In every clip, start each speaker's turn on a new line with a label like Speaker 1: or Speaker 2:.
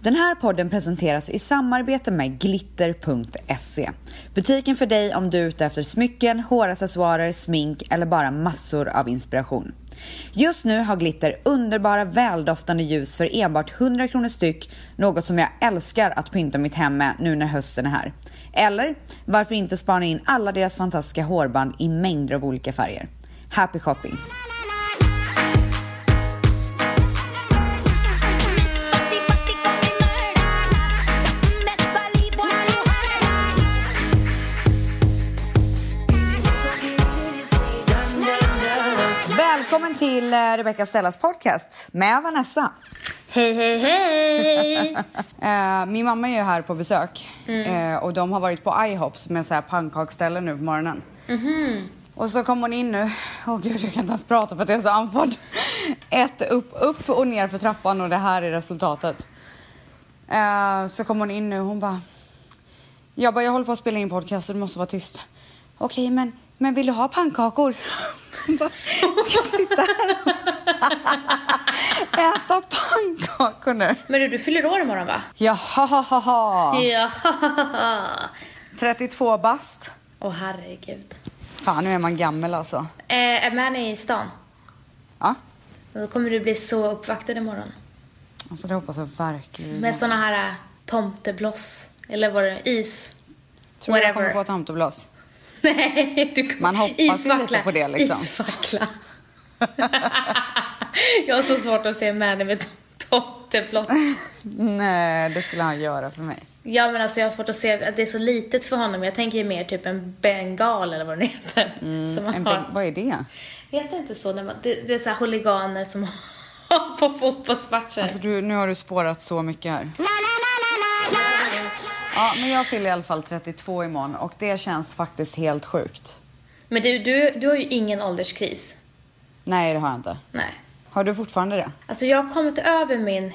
Speaker 1: Den här podden presenteras i samarbete med glitter.se. Butiken för dig om du är ute efter smycken, håraccessoarer, smink eller bara massor av inspiration. Just nu har Glitter underbara väldoftande ljus för enbart 100 kronor styck, något som jag älskar att pynta mitt hem med nu när hösten är här. Eller varför inte spana in alla deras fantastiska hårband i mängder av olika färger. Happy shopping! Välkommen till eh, Rebecca Stellas podcast med Vanessa.
Speaker 2: Hej, hej, hej!
Speaker 1: Eh, min mamma är ju här på besök eh, och de har varit på IHOP med så här pannkaksställe nu på morgonen. Och så kom hon in nu. Åh gud, jag kan inte ens prata för att jag är så andfådd. Ett upp, upp och ner för trappan och det här är resultatet. Eh, så kom hon in nu och hon bara. Jag bara, jag håller på att spela in podcast så du måste vara tyst. Okej, men, men vill du ha pannkakor? Hon bara, ska jag sitta här och äta pannkakor nu?
Speaker 2: Men du, du fyller år imorgon va?
Speaker 1: Jaha!
Speaker 2: Ja.
Speaker 1: 32 bast.
Speaker 2: Åh herregud.
Speaker 1: Fan, nu är man gammal alltså.
Speaker 2: Eh, är man i stan?
Speaker 1: Ja,
Speaker 2: Då kommer du bli så uppvaktad imorgon.
Speaker 1: alltså det hoppas jag verkligen.
Speaker 2: Med såna här eh, tomtebloss. Eller var det is?
Speaker 1: Tror du jag
Speaker 2: whatever.
Speaker 1: kommer få ett tomteblås?
Speaker 2: Nej, du kommer...
Speaker 1: Man hoppas ju
Speaker 2: isfackla.
Speaker 1: lite på det, liksom.
Speaker 2: Isfackla. jag har så svårt att se en man med tomtebloss.
Speaker 1: Nej, det skulle han göra för mig.
Speaker 2: Ja men alltså jag har svårt att se att det är så litet för honom. Jag tänker ju mer typ en bengal eller vad den heter. som
Speaker 1: Mm,
Speaker 2: man
Speaker 1: En
Speaker 2: har.
Speaker 1: bäng- vad är det?
Speaker 2: Heter det inte så när man, det, det är så här huliganer som har på fotbollsmatcher.
Speaker 1: Alltså, du, nu har du spårat så mycket här. Ja, men jag fyller i alla fall 32 imorgon och det känns faktiskt helt sjukt.
Speaker 2: Men du, du, du har ju ingen ålderskris.
Speaker 1: Nej, det har jag inte.
Speaker 2: Nej.
Speaker 1: Har du fortfarande det?
Speaker 2: Alltså jag har kommit över min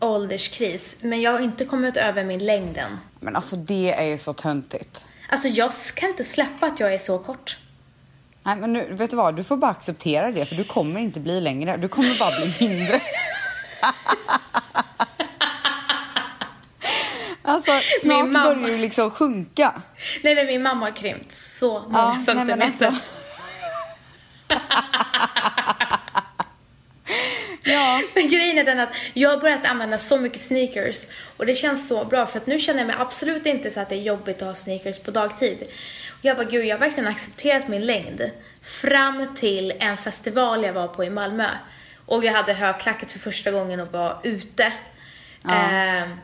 Speaker 2: ålderskris, men jag har inte kommit över min längden.
Speaker 1: Men alltså det är ju så töntigt.
Speaker 2: Alltså jag kan inte släppa att jag är så kort.
Speaker 1: Nej, men nu, vet du vad? Du får bara acceptera det för du kommer inte bli längre. Du kommer bara bli mindre. alltså, snart
Speaker 2: Min mamma-
Speaker 1: börjar du liksom sjunka.
Speaker 2: Nej men min mamma har krympt så många
Speaker 1: Ja, nej, men
Speaker 2: centimeter.
Speaker 1: alltså. Ja.
Speaker 2: Men grejen är den att jag har börjat använda så mycket sneakers och det känns så bra för att nu känner jag mig absolut inte så att det är jobbigt att ha sneakers på dagtid. Och jag bara, gud jag har verkligen accepterat min längd. Fram till en festival jag var på i Malmö och jag hade högklackat för första gången och var ute. Ehm,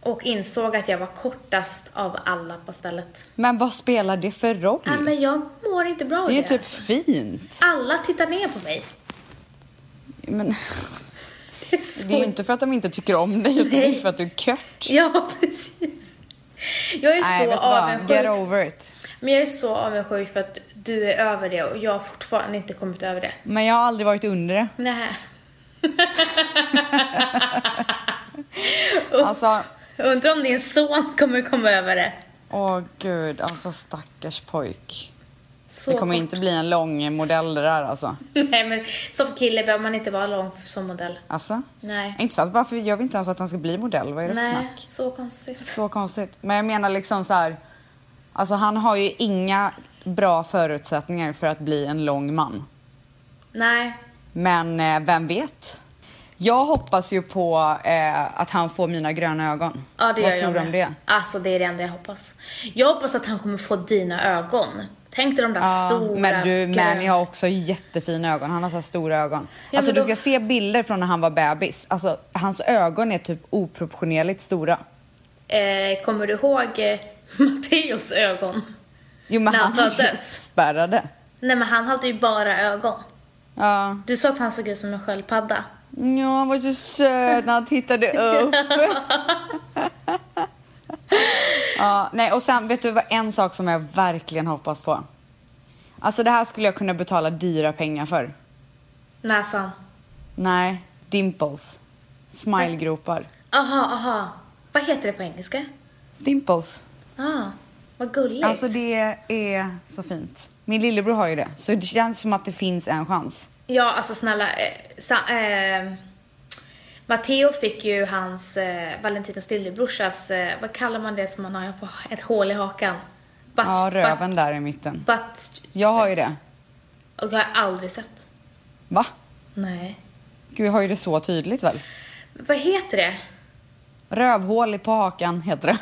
Speaker 2: och insåg att jag var kortast av alla på stället.
Speaker 1: Men vad spelar det för roll?
Speaker 2: Nej men jag mår inte bra av
Speaker 1: Mm. det är ju typ fint.
Speaker 2: Alla tittar ner på mig.
Speaker 1: Men
Speaker 2: Det är så
Speaker 1: det är ju inte för att de inte tycker om dig utan det är ju för att du är kört.
Speaker 2: Ja, precis. Jag är
Speaker 1: Nej,
Speaker 2: så
Speaker 1: vet du vad? Get
Speaker 2: avundsjuk.
Speaker 1: over it.
Speaker 2: Men jag är så avundsjuk för att du är över det och jag har fortfarande inte kommit över det.
Speaker 1: Men jag har aldrig varit under det.
Speaker 2: Nej.
Speaker 1: Alltså,
Speaker 2: Undrar om din son kommer komma över det.
Speaker 1: åh gud, alltså stackars pojk.
Speaker 2: Så
Speaker 1: Det kommer inte bli en lång modell det där alltså.
Speaker 2: Nej, men som kille behöver man inte vara lång som modell.
Speaker 1: Alltså?
Speaker 2: Nej.
Speaker 1: Inte för att, varför gör vi inte ens att han ska bli modell? Vad är det för
Speaker 2: Nej,
Speaker 1: snack?
Speaker 2: så konstigt.
Speaker 1: Så konstigt. Men jag menar liksom så här. Alltså han har ju inga bra förutsättningar för att bli en lång man.
Speaker 2: Nej.
Speaker 1: Men eh, vem vet? Jag hoppas ju på eh, att han får mina gröna ögon.
Speaker 2: Ja, det
Speaker 1: Vad
Speaker 2: gör jag
Speaker 1: tror du om
Speaker 2: med.
Speaker 1: det?
Speaker 2: Alltså, det är det enda jag hoppas. Jag hoppas att han kommer få dina ögon. Tänk dig de där stora,
Speaker 1: men du, Manny
Speaker 2: gröna.
Speaker 1: har också jättefina ögon. Han har så här stora ögon.
Speaker 2: men
Speaker 1: alltså du
Speaker 2: då-
Speaker 1: ska se bilder från när han var bebis. Alltså hans ögon är typ oproportionerligt stora.
Speaker 2: Eh, kommer du ihåg eh, Matteos ögon?
Speaker 1: Jo men
Speaker 2: När
Speaker 1: han
Speaker 2: han
Speaker 1: är ju
Speaker 2: föddes.
Speaker 1: uppspärrade.
Speaker 2: Nej men han hade ju bara ögon.
Speaker 1: Ja.
Speaker 2: Du sa att han såg ut som en sköldpadda.
Speaker 1: Ja, han var så söt när han tittade upp. ja, nej, och sen vet du vad en sak som jag verkligen hoppas på? Alltså det här skulle jag kunna betala dyra pengar för.
Speaker 2: Näsan.
Speaker 1: Nej, dimples. Smilegropar.
Speaker 2: Aha, aha. Vad heter det på engelska?
Speaker 1: Dimples.
Speaker 2: Ah, vad gulligt.
Speaker 1: Alltså det är så fint. Min lillebror har ju det, så det känns som att det finns en chans.
Speaker 2: Ja, alltså snälla. Eh, sa, eh, Matteo fick ju hans eh, Valentinos lillebrorsas, eh, vad kallar man det som man har på ett hål i hakan? Butt,
Speaker 1: Ja, röven
Speaker 2: Butt,
Speaker 1: där i mitten.
Speaker 2: butt,
Speaker 1: Jag har ju det.
Speaker 2: och jag har aldrig sett.
Speaker 1: Va?
Speaker 2: Nej.
Speaker 1: Gud, jag har ju det så tydligt väl?
Speaker 2: Vad heter det?
Speaker 1: Rövhål i på hakan heter det.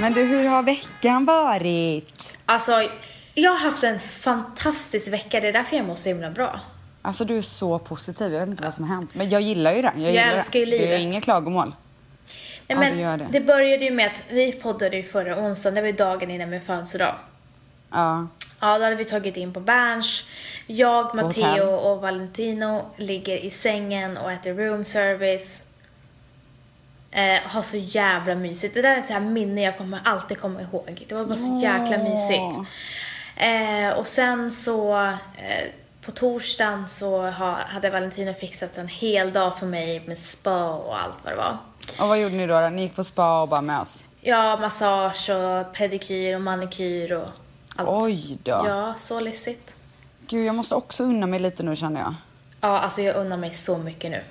Speaker 1: Men du, hur har veckan varit?
Speaker 2: Alltså, jag har haft en fantastisk vecka. Det är därför jag mår så himla bra.
Speaker 1: Alltså du är så positiv, jag vet inte vad som har hänt. Men jag gillar ju det. Jag, gillar
Speaker 2: älskar ju
Speaker 1: det. Det är
Speaker 2: livet.
Speaker 1: inget klagomål. Ja,
Speaker 2: Nej, men
Speaker 1: det
Speaker 2: det,
Speaker 1: gör det.
Speaker 2: började ju med att vi poddade ju förra onsdagen, det var ju dagen innan min födelsedag.
Speaker 1: Ja.
Speaker 2: Ja, då hade vi tagit in på Berns. Jag,
Speaker 1: hotell.
Speaker 2: Matteo och Valentino ligger i sängen och äter room service. Eh, har så jävla mysigt. Det där är ett så här minne jag kommer alltid komma ihåg. Det var bara så jäkla
Speaker 1: Åh.
Speaker 2: mysigt. Eh, och sen så eh, på torsdagen så ha, hade Valentino fixat en hel dag för mig med spa och allt vad det var.
Speaker 1: Och vad gjorde ni då? då? Ni gick på spa och bara mös?
Speaker 2: Ja, massage och pedikyr och manikyr och allt.
Speaker 1: Oj då.
Speaker 2: Ja, så lyssigt.
Speaker 1: Gud, jag måste också unna mig lite nu känner jag.
Speaker 2: Ja, alltså jag unnar mig så mycket nu.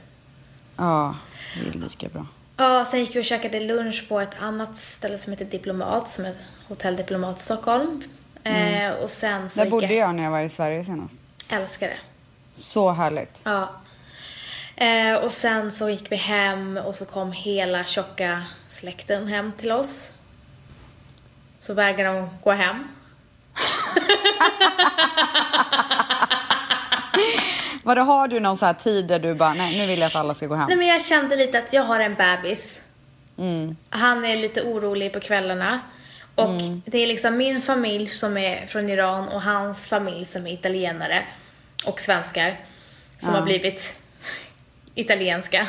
Speaker 1: Ja, det är lika bra.
Speaker 2: Ja, sen gick vi och käkade lunch på ett annat ställe som heter Diplomat, som är Hotell Diplomat i Stockholm. Eh, och sen så
Speaker 1: Mm. Där bodde
Speaker 2: gick
Speaker 1: jag när jag var i Sverige senast.
Speaker 2: jag... Älskar det.
Speaker 1: Så härligt.
Speaker 2: Ja. Eh, och sen så gick vi hem och så kom hela tjocka släkten hem till oss. Så vägrade de gå hem.
Speaker 1: Vadå, har du någon så här tid där du bara, nej nu vill jag att alla ska gå hem?
Speaker 2: Nej men jag kände lite att jag har en bebis.
Speaker 1: Mm.
Speaker 2: Han är lite orolig på kvällarna. Och det är liksom min familj som är från Iran och hans familj som är italienare och svenskar som har blivit italienska.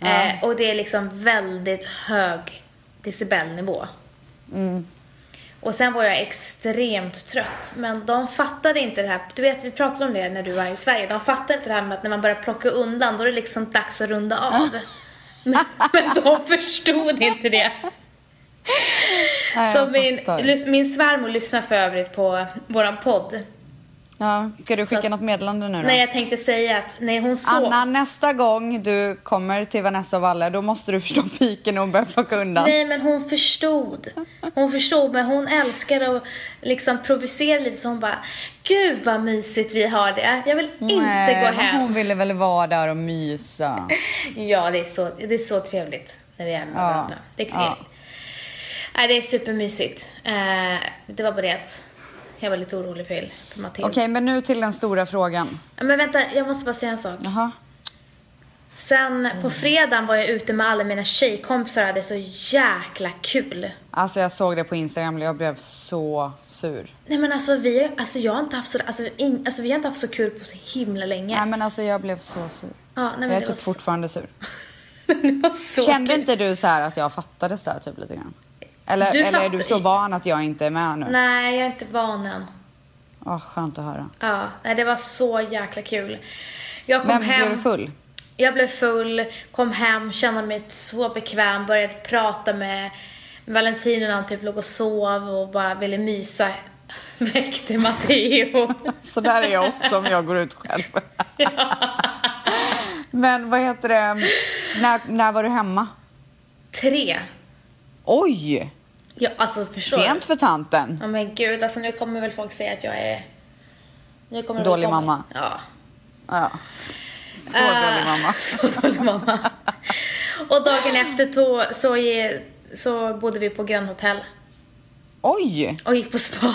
Speaker 2: Eh, och det är liksom väldigt hög decibelnivå. Och sen var jag extremt trött. Men de fattade inte det här. Du vet, vi pratade om det när du var i Sverige. De fattade inte det här med att när man börjar plocka undan, då är det liksom dags att runda av. Men, men de förstod inte det.
Speaker 1: Nej,
Speaker 2: Så
Speaker 1: jag
Speaker 2: min,
Speaker 1: fattar.
Speaker 2: lys- min svärmor lyssnar för övrigt på våran podd.
Speaker 1: Ja, ska du skicka
Speaker 2: Så-
Speaker 1: något meddelande nu då?
Speaker 2: Nej, jag tänkte säga att nej, hon sov.
Speaker 1: Anna, nästa gång du kommer till Vanessa och Valle, då måste du förstå piken och börja plocka undan.
Speaker 2: Nej, men hon förstod. Hon förstod, men hon älskar att liksom provocera lite. Så hon bara, gud vad mysigt vi har det. Jag vill inte
Speaker 1: Nej,
Speaker 2: gå
Speaker 1: men
Speaker 2: hem.
Speaker 1: Hon ville väl vara där och mysa.
Speaker 2: Ja, det är så, det är så trevligt när vi är med
Speaker 1: Ja.
Speaker 2: varandra. Det, är-
Speaker 1: Ja.
Speaker 2: Nej, det är supermysigt. Eh, det var bara det att jag var lite orolig för, för Matteo.
Speaker 1: Okej, men nu till den stora frågan.
Speaker 2: Men vänta, jag måste bara säga en sak.
Speaker 1: Jaha.
Speaker 2: Sen på fredagen var jag ute med alla mina tjejkompisar och hade så jäkla kul.
Speaker 1: Alltså jag såg det på Instagram och jag blev så sur.
Speaker 2: Nej men alltså vi, alltså jag har inte haft så, alltså, in, alltså vi har inte haft så kul på så himla länge.
Speaker 1: Nej men alltså jag blev så sur.
Speaker 2: Ja, nej, men
Speaker 1: jag är
Speaker 2: det
Speaker 1: typ
Speaker 2: var så-
Speaker 1: fortfarande sur.
Speaker 2: det var så
Speaker 1: Kände
Speaker 2: kul.
Speaker 1: inte du så här att jag fattades där typ lite grann? Eller,
Speaker 2: Du
Speaker 1: eller är
Speaker 2: fatt-
Speaker 1: du så van att jag inte är med nu?
Speaker 2: Nej, jag är inte van än.
Speaker 1: Åh, skönt att höra.
Speaker 2: Ja, nej, det var så jäkla kul. Jag kom
Speaker 1: Men
Speaker 2: hem.
Speaker 1: blev du full?
Speaker 2: Jag blev full, kom hem, kände mig så bekväm, började prata med Valentino när han typ låg och sov och bara ville mysa. Väckte Matteo.
Speaker 1: Så där är jag också om jag går ut själv. Men vad heter det, när, när var du hemma?
Speaker 2: Tre.
Speaker 1: Oj!
Speaker 2: Ja, alltså förstår
Speaker 1: Sent för tanten.
Speaker 2: Ja men gud, alltså nu kommer väl folk säga att jag är... Nu kommer det
Speaker 1: Dålig
Speaker 2: väl komma-
Speaker 1: mamma.
Speaker 2: Ja.
Speaker 1: Ja. Så dålig
Speaker 2: Eh,
Speaker 1: mamma.
Speaker 2: Så dålig mamma. Och dagen efter to- så, ge- så bodde vi på grannhotell
Speaker 1: Oj!
Speaker 2: och gick på spa.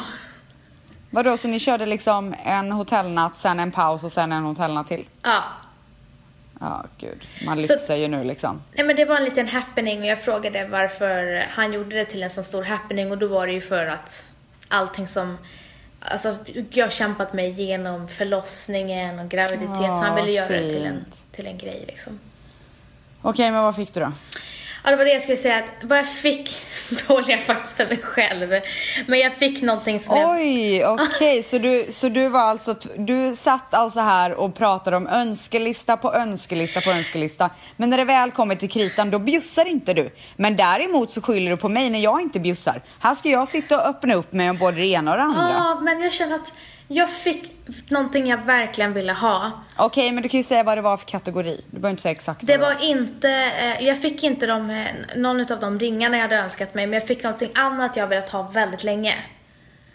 Speaker 1: Vadå, så ni körde liksom en hotellnatt, sen en paus och sen en hotellnatt till?
Speaker 2: Ja,
Speaker 1: Ja, gud. Man lyxar ju nu liksom.
Speaker 2: Nej men det var en liten happening och jag frågade varför han gjorde det till en så stor happening och då var det ju för att allting som Alltså jag har kämpat mig igenom förlossningen och graviditet så han
Speaker 1: Åh,
Speaker 2: ville göra det till en,
Speaker 1: fint.
Speaker 2: till en grej liksom.
Speaker 1: Okej, men vad fick du då?
Speaker 2: Ja det var det jag skulle säga att vad jag fick behåller jag faktiskt för mig själv. Men jag fick någonting som jag...
Speaker 1: Oj, okej. Så, du, så du var alltså, t- du satt alltså här och pratade om önskelista på önskelista på önskelista. Men när det väl kommer till kritan då bjussar inte du. Men däremot så skyller du på
Speaker 2: Ah.
Speaker 1: mig när jag inte bjussar. Här ska jag sitta och öppna upp mig om både det ena och det andra.
Speaker 2: Ja men jag känner att Jag fick någonting jag verkligen ville ha.
Speaker 1: Okej, men du kan ju säga vad det var för kategori. Du behöver inte säga exakt.
Speaker 2: Det
Speaker 1: vad
Speaker 2: var inte, eh, jag fick inte de, eh, någon av de ringarna jag hade önskat mig men jag fick någonting annat jag velat ha väldigt länge.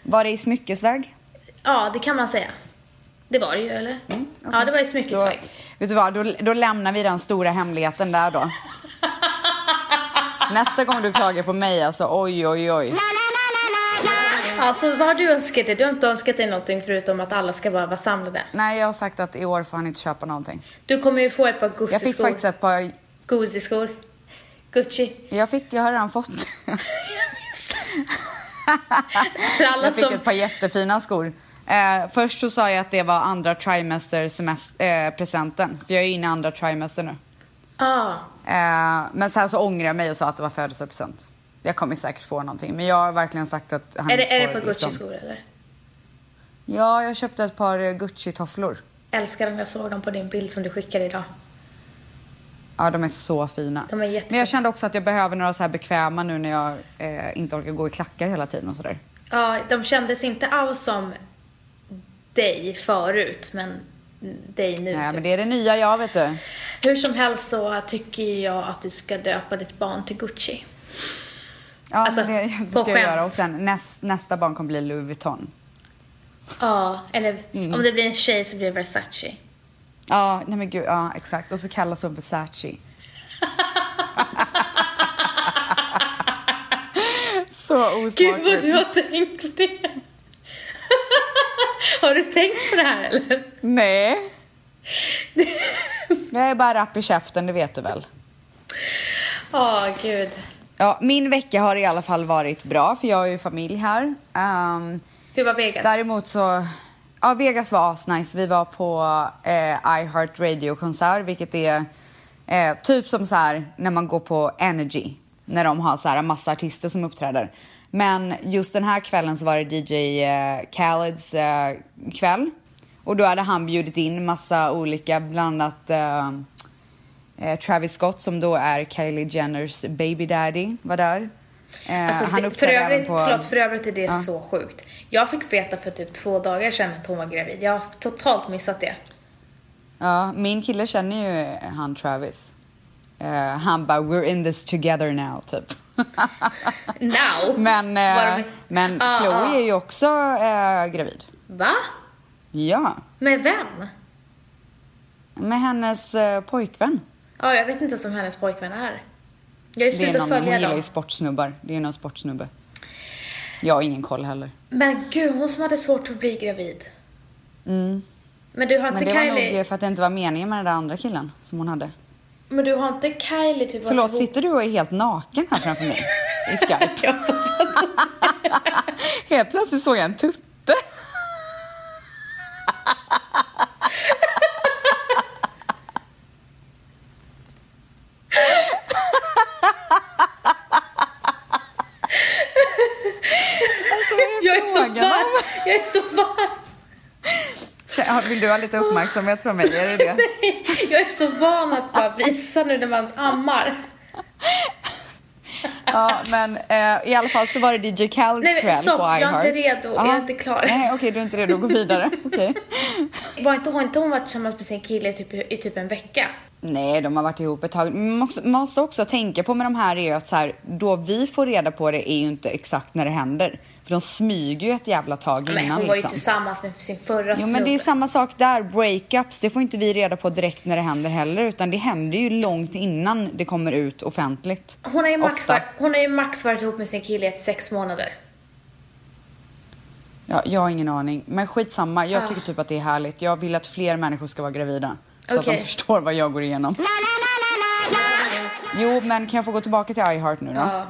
Speaker 1: Var det i smyckesväg?
Speaker 2: Ja, det kan man säga. Det var det ju, eller? Ja, det var i
Speaker 1: Mm, Då,
Speaker 2: smyckesväg.
Speaker 1: vet du vad, då, då lämnar vi den stora hemligheten där då. Nästa gång du klagar på mig alltså, oj oj oj.
Speaker 2: Ja, så vad har du önskat dig? Du har inte önskat dig någonting förutom att alla ska bara vara samlade.
Speaker 1: Nej, jag har sagt att i år får han inte köpa någonting.
Speaker 2: Du kommer ju få ett par
Speaker 1: Jag fick
Speaker 2: Gucci-skor.
Speaker 1: faktiskt ett par,
Speaker 2: Gucci-skor. Gucci.
Speaker 1: jag fick, jag har redan fått.
Speaker 2: För alla
Speaker 1: jag fick
Speaker 2: som...
Speaker 1: ett par jättefina skor. Eh, först så sa jag att det var andra trimester semest- eh, presenten, för jag är inne i andra trimester nu.
Speaker 2: Ja.
Speaker 1: Eh, men sen så ångrade jag mig och sa att det var födelsedagspresent. Jag kommer säkert få någonting, men jag har verkligen sagt att han
Speaker 2: Är
Speaker 1: inte
Speaker 2: det, är det
Speaker 1: får,
Speaker 2: ett par
Speaker 1: liksom-
Speaker 2: Gucci-skor, eller?
Speaker 1: Ja, jag köpte ett par eh, Gucci-tofflor.
Speaker 2: Älskar dem, jag såg dem på din bild som du skickade idag.
Speaker 1: Ja, de är så fina.
Speaker 2: De är jättefina.
Speaker 1: Men jag kände också att jag behöver några så här bekväma nu när jag eh, inte orkar gå i klackar hela tiden och sådär.
Speaker 2: Ja, de kändes inte alls som dig förut, men dig nu.
Speaker 1: Nej,
Speaker 2: typ.
Speaker 1: men det är det nya jag, vet du.
Speaker 2: Hur som helst så tycker jag att du ska döpa ditt barn till Gucci.
Speaker 1: Ja,
Speaker 2: Alltså,
Speaker 1: men det, det ska
Speaker 2: på
Speaker 1: jag
Speaker 2: skämt.
Speaker 1: göra. Och sen näst, nästa barn kommer bli Louis Vuitton.
Speaker 2: Ja, eller
Speaker 1: Mm.
Speaker 2: om det blir en tjej så blir det Versace.
Speaker 1: Ja, nej men gud, ja exakt. Och så kallas hon Versace. så
Speaker 2: Gud vad
Speaker 1: osmakligt.
Speaker 2: du har tänkt på det. har du tänkt på det här eller?
Speaker 1: Nej. Jag är bara rapp i käften, det vet du väl.
Speaker 2: Ja, gud.
Speaker 1: Ja, min vecka har i alla fall varit bra för jag har ju familj här. Ehm,
Speaker 2: Hur var Vegas?
Speaker 1: däremot så, ja Vegas var asnice. Vi var på eh, iHeart Radio-konsert vilket är eh, typ som så här när man går på Energy. När de har så här massa artister som uppträder. Men just den här kvällen så var det DJ eh, Khaleds eh, kväll. Och då hade han bjudit in massa olika, bland annat eh, Eh, Travis Scott som då är Kylie Jenners baby daddy var där. Eh,
Speaker 2: Alltså,
Speaker 1: han
Speaker 2: det, för,
Speaker 1: uppträdde även
Speaker 2: övrigt,
Speaker 1: på...
Speaker 2: förlåt, för övrigt är det så sjukt. Jag fick veta för typ två dagar sedan att hon var gravid. Jag har totalt missat det.
Speaker 1: Ja, min kille känner ju han Travis. Eh, han bara “We're in this together now” typ.
Speaker 2: Now?
Speaker 1: men
Speaker 2: Var
Speaker 1: eh,
Speaker 2: de-
Speaker 1: men
Speaker 2: Ah,
Speaker 1: Chloe
Speaker 2: ah.
Speaker 1: är ju också eh, gravid.
Speaker 2: Va?
Speaker 1: Ja,
Speaker 2: Med vem?
Speaker 1: med hennes eh, pojkvän.
Speaker 2: Ja, jag vet inte ens vem hennes pojkvän är. Jag har ju
Speaker 1: Det är
Speaker 2: slutat
Speaker 1: någon, hon
Speaker 2: följa
Speaker 1: gillar ju
Speaker 2: dem.
Speaker 1: sportsnubbar. Det är någon sportsnubbe. Jag har ingen koll heller.
Speaker 2: Men gud, hon som hade svårt att bli gravid.
Speaker 1: Mm.
Speaker 2: Men du har
Speaker 1: Men
Speaker 2: inte
Speaker 1: det var nog
Speaker 2: Kylie...
Speaker 1: eh, för att det inte var meningen med den där andra killen som hon hade.
Speaker 2: Men du har inte Kylie typ varit
Speaker 1: Förlåt,
Speaker 2: ihop-
Speaker 1: sitter du och är helt naken här framför mig i Skype?
Speaker 2: Jag hoppas att-
Speaker 1: Helt plötsligt såg jag en tutte. alltså, vad
Speaker 2: Jag är så
Speaker 1: frågan om?
Speaker 2: varm! Jag är så varm!
Speaker 1: Ja, Vill du ha lite uppmärksamhet från mig? Är det det?
Speaker 2: Jag är så van att bara visa nu när man ammar.
Speaker 1: Ja, men eh, i alla fall så var det DJ
Speaker 2: Nej,
Speaker 1: Khaleds
Speaker 2: men
Speaker 1: kväll
Speaker 2: stopp,
Speaker 1: på
Speaker 2: jag är
Speaker 1: iHeart.
Speaker 2: inte redo. Jag är
Speaker 1: Aha.
Speaker 2: inte klar.
Speaker 1: Nej, okej, du är inte redo att gå vidare. Okej.
Speaker 2: Var inte hon, inte hon varit tillsammans med sin kille i typ, i typ en vecka?
Speaker 1: Nej, de har varit ihop ett tag. Man måste- man måste också tänka på med de här är ju att så här, då vi får reda på det är ju inte exakt när det händer. För de smyger ju ett jävla tag innan
Speaker 2: Men hon var ju
Speaker 1: liksom.
Speaker 2: tillsammans med sin förra
Speaker 1: Jo men det är samma sak där, breakups, det får inte vi reda på direkt när det händer heller utan det händer ju långt innan det kommer ut offentligt.
Speaker 2: Hon har, ju max
Speaker 1: Ofta.
Speaker 2: varit, hon har ju max varit ihop med sin kille i ett sex månader.
Speaker 1: Ja, jag har ingen aning, men skitsamma. Jag
Speaker 2: Ah.
Speaker 1: tycker typ att det är härligt. Jag vill att fler människor ska vara gravida. Så att
Speaker 2: Okej.
Speaker 1: de förstår vad jag går igenom. Jo, men kan jag få gå tillbaka till iHeart nu då?
Speaker 2: Ja.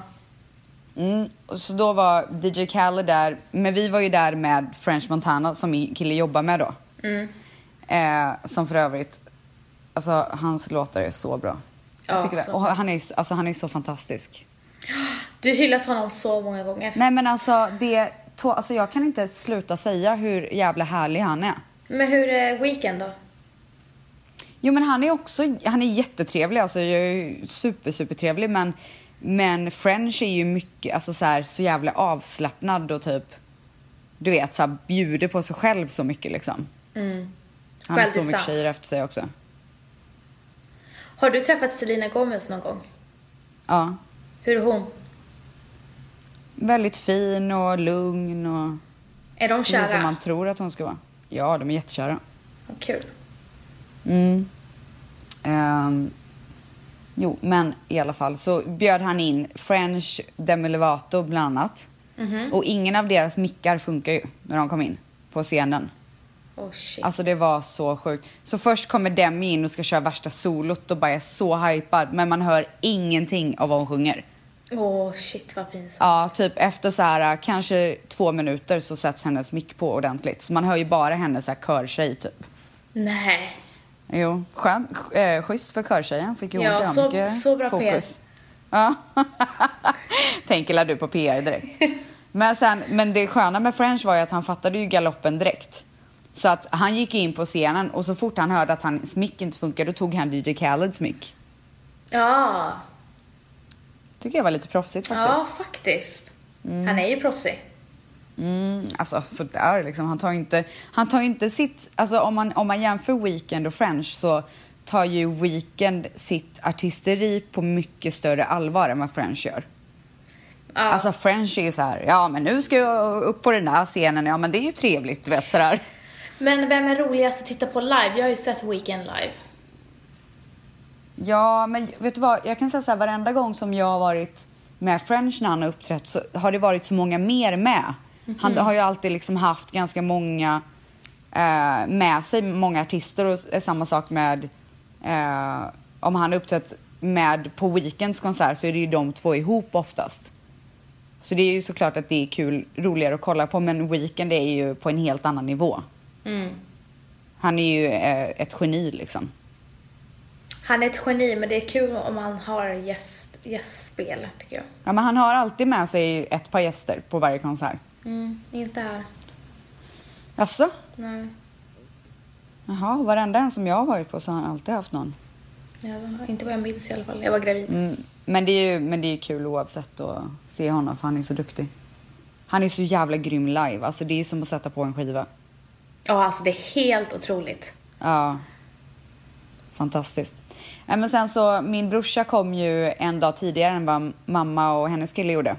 Speaker 1: Mm, och så då var DJ Khaled där, men vi var ju där med French Montana som min kille jobbar med då.
Speaker 2: Mm.
Speaker 1: Eh, som för övrigt, alltså hans låtar är så bra.
Speaker 2: Ja,
Speaker 1: Jag tycker det.
Speaker 2: så
Speaker 1: Och han är ju alltså, han är ju så fantastisk.
Speaker 2: Du har hyllat honom så många gånger.
Speaker 1: Nej men alltså, det, to, alltså jag kan inte sluta säga hur jävla härlig han är.
Speaker 2: Men hur är Weekend då?
Speaker 1: Jo men han är också, han är jättetrevlig alltså, jag är ju super super trevlig men men French är ju mycket, alltså så här så jävla avslappnad och typ du vet, så här, bjuder på sig själv så mycket liksom. Han har så mycket
Speaker 2: Självdistans.
Speaker 1: tjejer efter sig också.
Speaker 2: Har du träffat Selena Gomez någon gång?
Speaker 1: Ja.
Speaker 2: Hur är hon?
Speaker 1: Väldigt fin och lugn och
Speaker 2: Är de
Speaker 1: precis som
Speaker 2: kära?
Speaker 1: man tror att hon ska vara. Ja, de är jättekära.
Speaker 2: Vad kul.
Speaker 1: Mm. Ehm, jo, men i alla fall så bjöd han in French Demi Lovato bland annat. Och ingen av deras mickar funkar ju när de kom in på scenen.
Speaker 2: Oh shit.
Speaker 1: Alltså det var så sjukt. Så först kommer Demi in och ska köra värsta solot och bara är så hypad men man hör ingenting av vad hon sjunger.
Speaker 2: Åh shit vad pinsamt.
Speaker 1: Ja, typ efter så här kanske två minuter så sätts hennes mick på ordentligt. Så man hör ju bara hennes så här körtjej typ.
Speaker 2: Nej.
Speaker 1: Jo, skön, sch- eh, schysst för körtjejen. Fick ju
Speaker 2: Ja,
Speaker 1: hon
Speaker 2: så-
Speaker 1: mycket
Speaker 2: så bra
Speaker 1: fokus. Ja. Tänker la du på PR direkt. Men, sen, men det sköna med French var ju att han fattade ju galoppen direkt. Så att han gick in på scenen och så fort han hörde att hans mick inte funkade då tog han DJ Khaleds mick.
Speaker 2: Ja.
Speaker 1: Tycker jag var lite proffsigt faktiskt.
Speaker 2: Ja faktiskt. Han är ju proffsig.
Speaker 1: Mm, alltså sådär liksom. Han tar ju inte, han tar ju inte sitt, alltså om man, om man jämför Weekend och French så tar ju Weekend sitt artisteri på mycket större allvar än vad French gör.
Speaker 2: Ja.
Speaker 1: Alltså French är ju så här, ja men nu ska jag upp på den där scenen, ja men det är ju trevligt du vet sådär.
Speaker 2: Men vem är roligast att titta på live? Jag har ju sett Weekend live.
Speaker 1: Ja men vet du vad, jag kan säga så här, varenda gång som jag har varit med French när han har uppträtt så har det varit så många mer med. Han har ju alltid liksom haft ganska många eh, med sig, många artister och s- samma sak med eh, om han har uppträtt med på Weekends konsert så är det ju de två ihop oftast. Så det är ju såklart att det är kul, roligare att kolla på men Weekend är ju på en helt annan nivå. Mm. Han är ju eh, ett geni liksom.
Speaker 2: Han är ett geni men det är kul om han har gäst- gästspel tycker jag.
Speaker 1: Ja, men han har alltid med sig ett par gäster på varje konsert.
Speaker 2: Mm, inte här.
Speaker 1: Jaså?
Speaker 2: Nej.
Speaker 1: Jaha, varenda en som jag har varit på så har han alltid haft någon.
Speaker 2: Jag var, inte vad jag minns i alla fall. Jag var gravid.
Speaker 1: Mm, men, det är ju, men det är ju kul oavsett att se honom för han är så duktig. Han är så jävla grym live, alltså det är ju som att sätta på en skiva.
Speaker 2: Ja, alltså det är helt otroligt.
Speaker 1: Ja. Fantastiskt. Nej, men sen så, min brorsa kom ju en dag tidigare än vad mamma och hennes kille gjorde.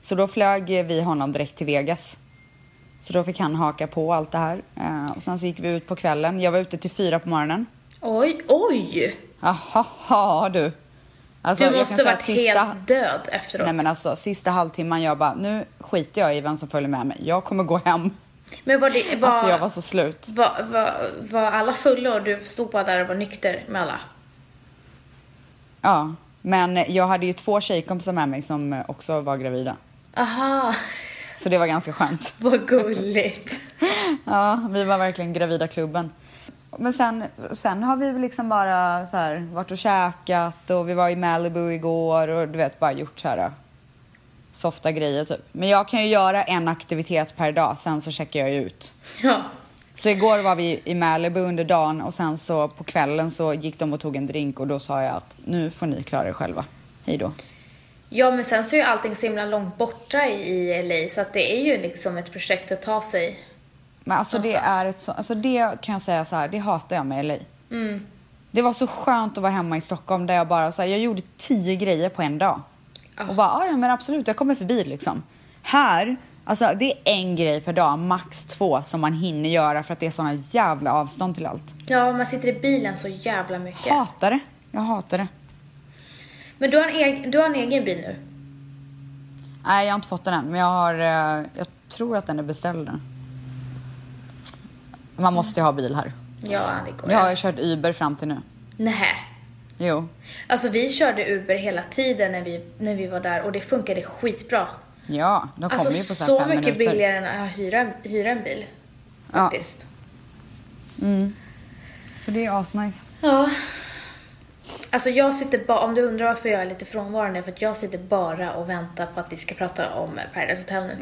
Speaker 1: Så då flög vi honom direkt till Vegas. Så då fick han haka på allt det här. Eh, Och sen så gick vi ut på kvällen. Jag var ute till fyra på morgonen.
Speaker 2: Oj, oj!
Speaker 1: Jaha du. Alltså,
Speaker 2: du
Speaker 1: jag kan
Speaker 2: måste
Speaker 1: säga
Speaker 2: varit
Speaker 1: att sista-
Speaker 2: helt död efteråt.
Speaker 1: Nej men alltså sista halvtimman jag bara, nu skiter jag i vem som följer med mig. Jag kommer gå hem.
Speaker 2: Men var det... Var,
Speaker 1: Alltså jag var så slut.
Speaker 2: var, var, var alla fulla och du stod bara där och var nykter med alla?
Speaker 1: Ja. Men jag hade ju två tjejkompisar med mig som eh, också var gravida.
Speaker 2: Aha,
Speaker 1: Så det var ganska skönt.
Speaker 2: vad gulligt.
Speaker 1: Ja, vi var verkligen gravida klubben. Men sen, sen har vi liksom bara så här, varit och käkat och vi var i Malibu igår och du vet bara gjort så här eh, softa grejer typ. Men jag kan ju göra en aktivitet per dag, sen så checkar jag ju ut.
Speaker 2: Ja.
Speaker 1: Så igår var vi i Malibu under dagen och sen så på kvällen så gick de och tog en drink och då sa jag att nu får ni klara er själva. Hej då.
Speaker 2: ja, men sen så är ju allting så himla långt borta i LA så att det är ju liksom ett projekt att ta sig.
Speaker 1: Men alltså det
Speaker 2: Någonstans.
Speaker 1: är ett så, alltså det kan jag säga så här, det hatar jag med LA. Det var så skönt att vara hemma i Stockholm där jag bara så här, jag gjorde tio grejer på en dag.
Speaker 2: Ja.
Speaker 1: Och bara, "Ah, ja men absolut jag kommer förbi liksom. Här, alltså det är en grej per dag, max två som man hinner göra för att det är såna jävla avstånd till allt.
Speaker 2: Ja, man sitter i bilen så jävla mycket.
Speaker 1: Hatar det. Jag hatar det.
Speaker 2: Men du har, en egen, du har en egen bil nu?
Speaker 1: Nej, jag har inte fått den än, men jag har... eh, Jag tror att den är beställd nu. Man måste ju ha bil här.
Speaker 2: Ja, det går.
Speaker 1: Jag har ju kört Uber fram till nu.
Speaker 2: Nej.
Speaker 1: Jo.
Speaker 2: Alltså vi körde Uber hela tiden när vi, när vi var där och det funkade skitbra.
Speaker 1: Ja, de kommer
Speaker 2: Alltså
Speaker 1: ju på så, här
Speaker 2: så
Speaker 1: fem
Speaker 2: mycket
Speaker 1: minuter.
Speaker 2: billigare än att hyra, hyra en bil.
Speaker 1: Ja.
Speaker 2: Faktiskt.
Speaker 1: Så det är asnice.
Speaker 2: Ja. Alltså jag sitter bara, om du undrar varför jag är lite frånvarande, för att jag sitter bara och väntar på att vi ska prata om Paradise Hotel nu.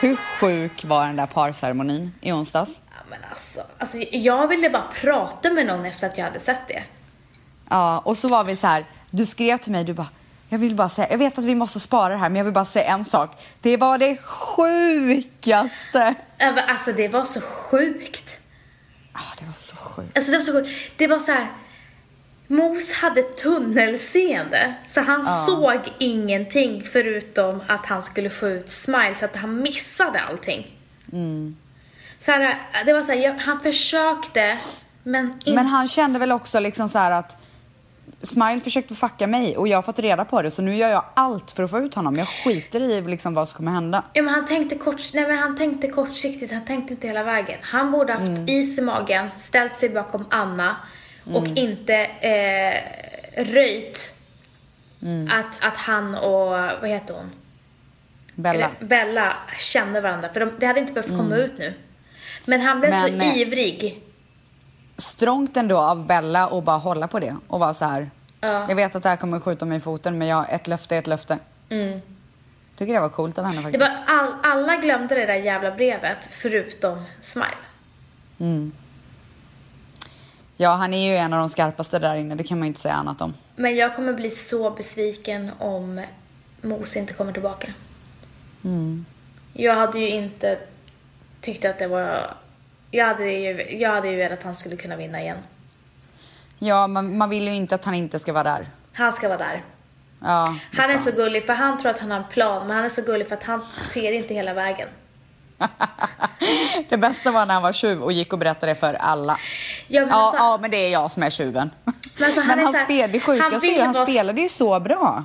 Speaker 1: Hur sjuk var den där parceremonin i onsdags?
Speaker 2: Ja, men alltså, alltså, jag ville bara prata med någon efter att jag hade sett det.
Speaker 1: Ja, och så var vi så här. Du skrev till mig, du bara... "Jag Jag vill bara säga, jag vet att vi måste spara det här men jag vill bara säga en sak. Det var det sjukaste!
Speaker 2: Ja, men Alltså det var så sjukt.
Speaker 1: Ah, det var så sjukt.
Speaker 2: Alltså det var så sjukt. Det var så här. Mos hade tunnelseende, så han såg ingenting förutom att han skulle få ut smile, så att han missade allting. Så här, det var så här, jag, han försökte, men inte.
Speaker 1: Men han kände väl också liksom så här att Smile försökte fucka mig och jag har fått reda på det så nu gör jag allt för att få ut honom. Jag skiter i liksom vad som kommer hända.
Speaker 2: Ja, men han, tänkte kort, nej, men han tänkte kortsiktigt, han tänkte inte hela vägen. Han borde haft is i magen, ställt sig bakom Anna och inte eh, röjt att, att han och, vad heter hon?
Speaker 1: Bella. Mm.
Speaker 2: Eller Bella kände varandra, för de, det hade inte behövt komma ut nu. Men han blev
Speaker 1: Men,
Speaker 2: så
Speaker 1: eh,
Speaker 2: ivrig.
Speaker 1: strångt ändå av Bella och bara hålla på det och vara så här.
Speaker 2: Ja.
Speaker 1: Jag vet att det här kommer skjuta mig i foten men jag, ett löfte är ett löfte. Tycker det var coolt av henne
Speaker 2: Mm. Det
Speaker 1: faktiskt.
Speaker 2: var all, alla glömde det där jävla brevet, förutom Smile.
Speaker 1: Mm. Ja, han är ju en av de skarpaste där inne, det kan man ju inte säga annat om.
Speaker 2: Men jag kommer bli så besviken om Mos inte kommer tillbaka. Jag hade ju inte tyckt att det var... Jag hade ju, jag hade ju velat att han skulle kunna vinna igen.
Speaker 1: Ja, man, man vill ju inte att han inte ska vara där.
Speaker 2: Han ska vara där.
Speaker 1: Ja, det
Speaker 2: Han är
Speaker 1: ska
Speaker 2: så gullig för han tror att han har en plan, men han är så gullig för att han ser inte hela vägen.
Speaker 1: det bästa var när han var tjuv och gick och berättade det för alla.
Speaker 2: Ja, men
Speaker 1: ja,
Speaker 2: alltså-
Speaker 1: ja, men det är jag som är tjuven.
Speaker 2: Men alltså, han är så här-
Speaker 1: spel, det
Speaker 2: han
Speaker 1: sjukaste är
Speaker 2: vill
Speaker 1: ju, han
Speaker 2: vara-
Speaker 1: spelade ju så bra.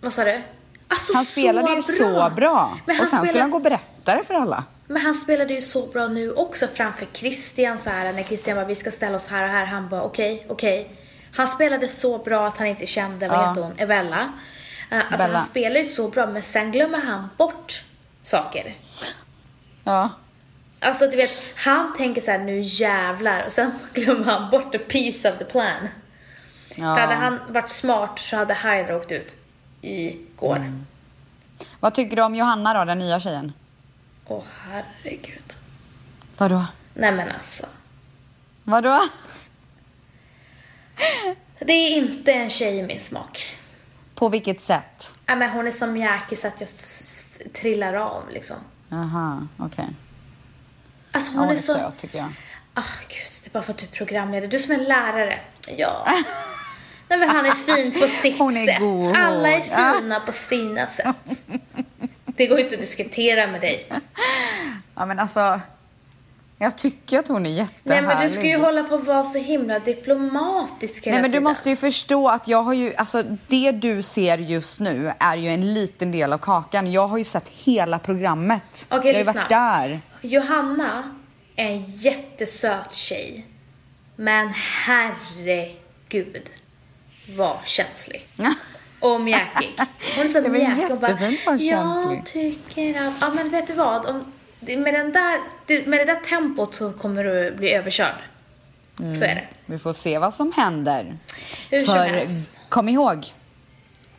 Speaker 2: Vad sa du? Alltså,
Speaker 1: Han
Speaker 2: så
Speaker 1: spelade ju så bra.
Speaker 2: Men han,
Speaker 1: Och sen
Speaker 2: spelade,
Speaker 1: skulle han gå och berätta det för alla.
Speaker 2: men han spelade ju så bra nu också framför Christian så här när Christian bara vi ska ställa oss här och här. Han bara okej, okej. Han spelade så bra att han inte kände, vad
Speaker 1: Ja.
Speaker 2: heter hon, Evella. Eh, Alltså
Speaker 1: Bella.
Speaker 2: han spelar ju så bra men sen glömmer han bort saker.
Speaker 1: Ja.
Speaker 2: Alltså du vet, han tänker så här nu jävlar och sen glömmer han bort the piece of the plan.
Speaker 1: ja.
Speaker 2: För hade han varit smart så hade Hydra åkt ut igår.
Speaker 1: Mm. Vad tycker du om Johanna då, den nya tjejen?
Speaker 2: Åh herregud.
Speaker 1: Vadå?
Speaker 2: Nej men alltså.
Speaker 1: Vadå?
Speaker 2: Det är inte en tjej i min smak.
Speaker 1: På vilket sätt?
Speaker 2: Ja, men hon är som Jackie så att jag s- s- trillar av liksom.
Speaker 1: Jaha, okej.
Speaker 2: Alltså
Speaker 1: Ja,
Speaker 2: hon är så...
Speaker 1: söt tycker jag.
Speaker 2: Ah, gud, det är bara för att du är programledare. Du som är lärare. Ja. Nej men han är fin på sitt
Speaker 1: Hon är
Speaker 2: sätt.
Speaker 1: god.
Speaker 2: Alla är
Speaker 1: Ja.
Speaker 2: fina på sina sätt. Det går inte att diskutera med dig.
Speaker 1: Ja men alltså, jag tycker att hon är jättehärlig.
Speaker 2: Nej men du ska ju hålla på att vara så himla diplomatisk hela
Speaker 1: Nej men du
Speaker 2: tiden.
Speaker 1: måste ju förstå att jag har ju, alltså det du ser just nu är ju en liten del av kakan. Jag har ju sett hela programmet.
Speaker 2: Okej,
Speaker 1: jag har ju
Speaker 2: lyssna.
Speaker 1: varit där.
Speaker 2: Johanna är en jättesöt tjej. Men herregud var känslig. Och mjäkig. Hon är så
Speaker 1: Det var
Speaker 2: mjäkig och bara,
Speaker 1: jättefint att vara
Speaker 2: jag
Speaker 1: känslig."
Speaker 2: tycker att, ja men vet du vad, om, det- med, den där, det- med det där tempot så kommer du bli överkörd.
Speaker 1: Mm.
Speaker 2: Så är det.
Speaker 1: Vi får se vad som händer.
Speaker 2: Hur som
Speaker 1: För
Speaker 2: helst.
Speaker 1: kom ihåg,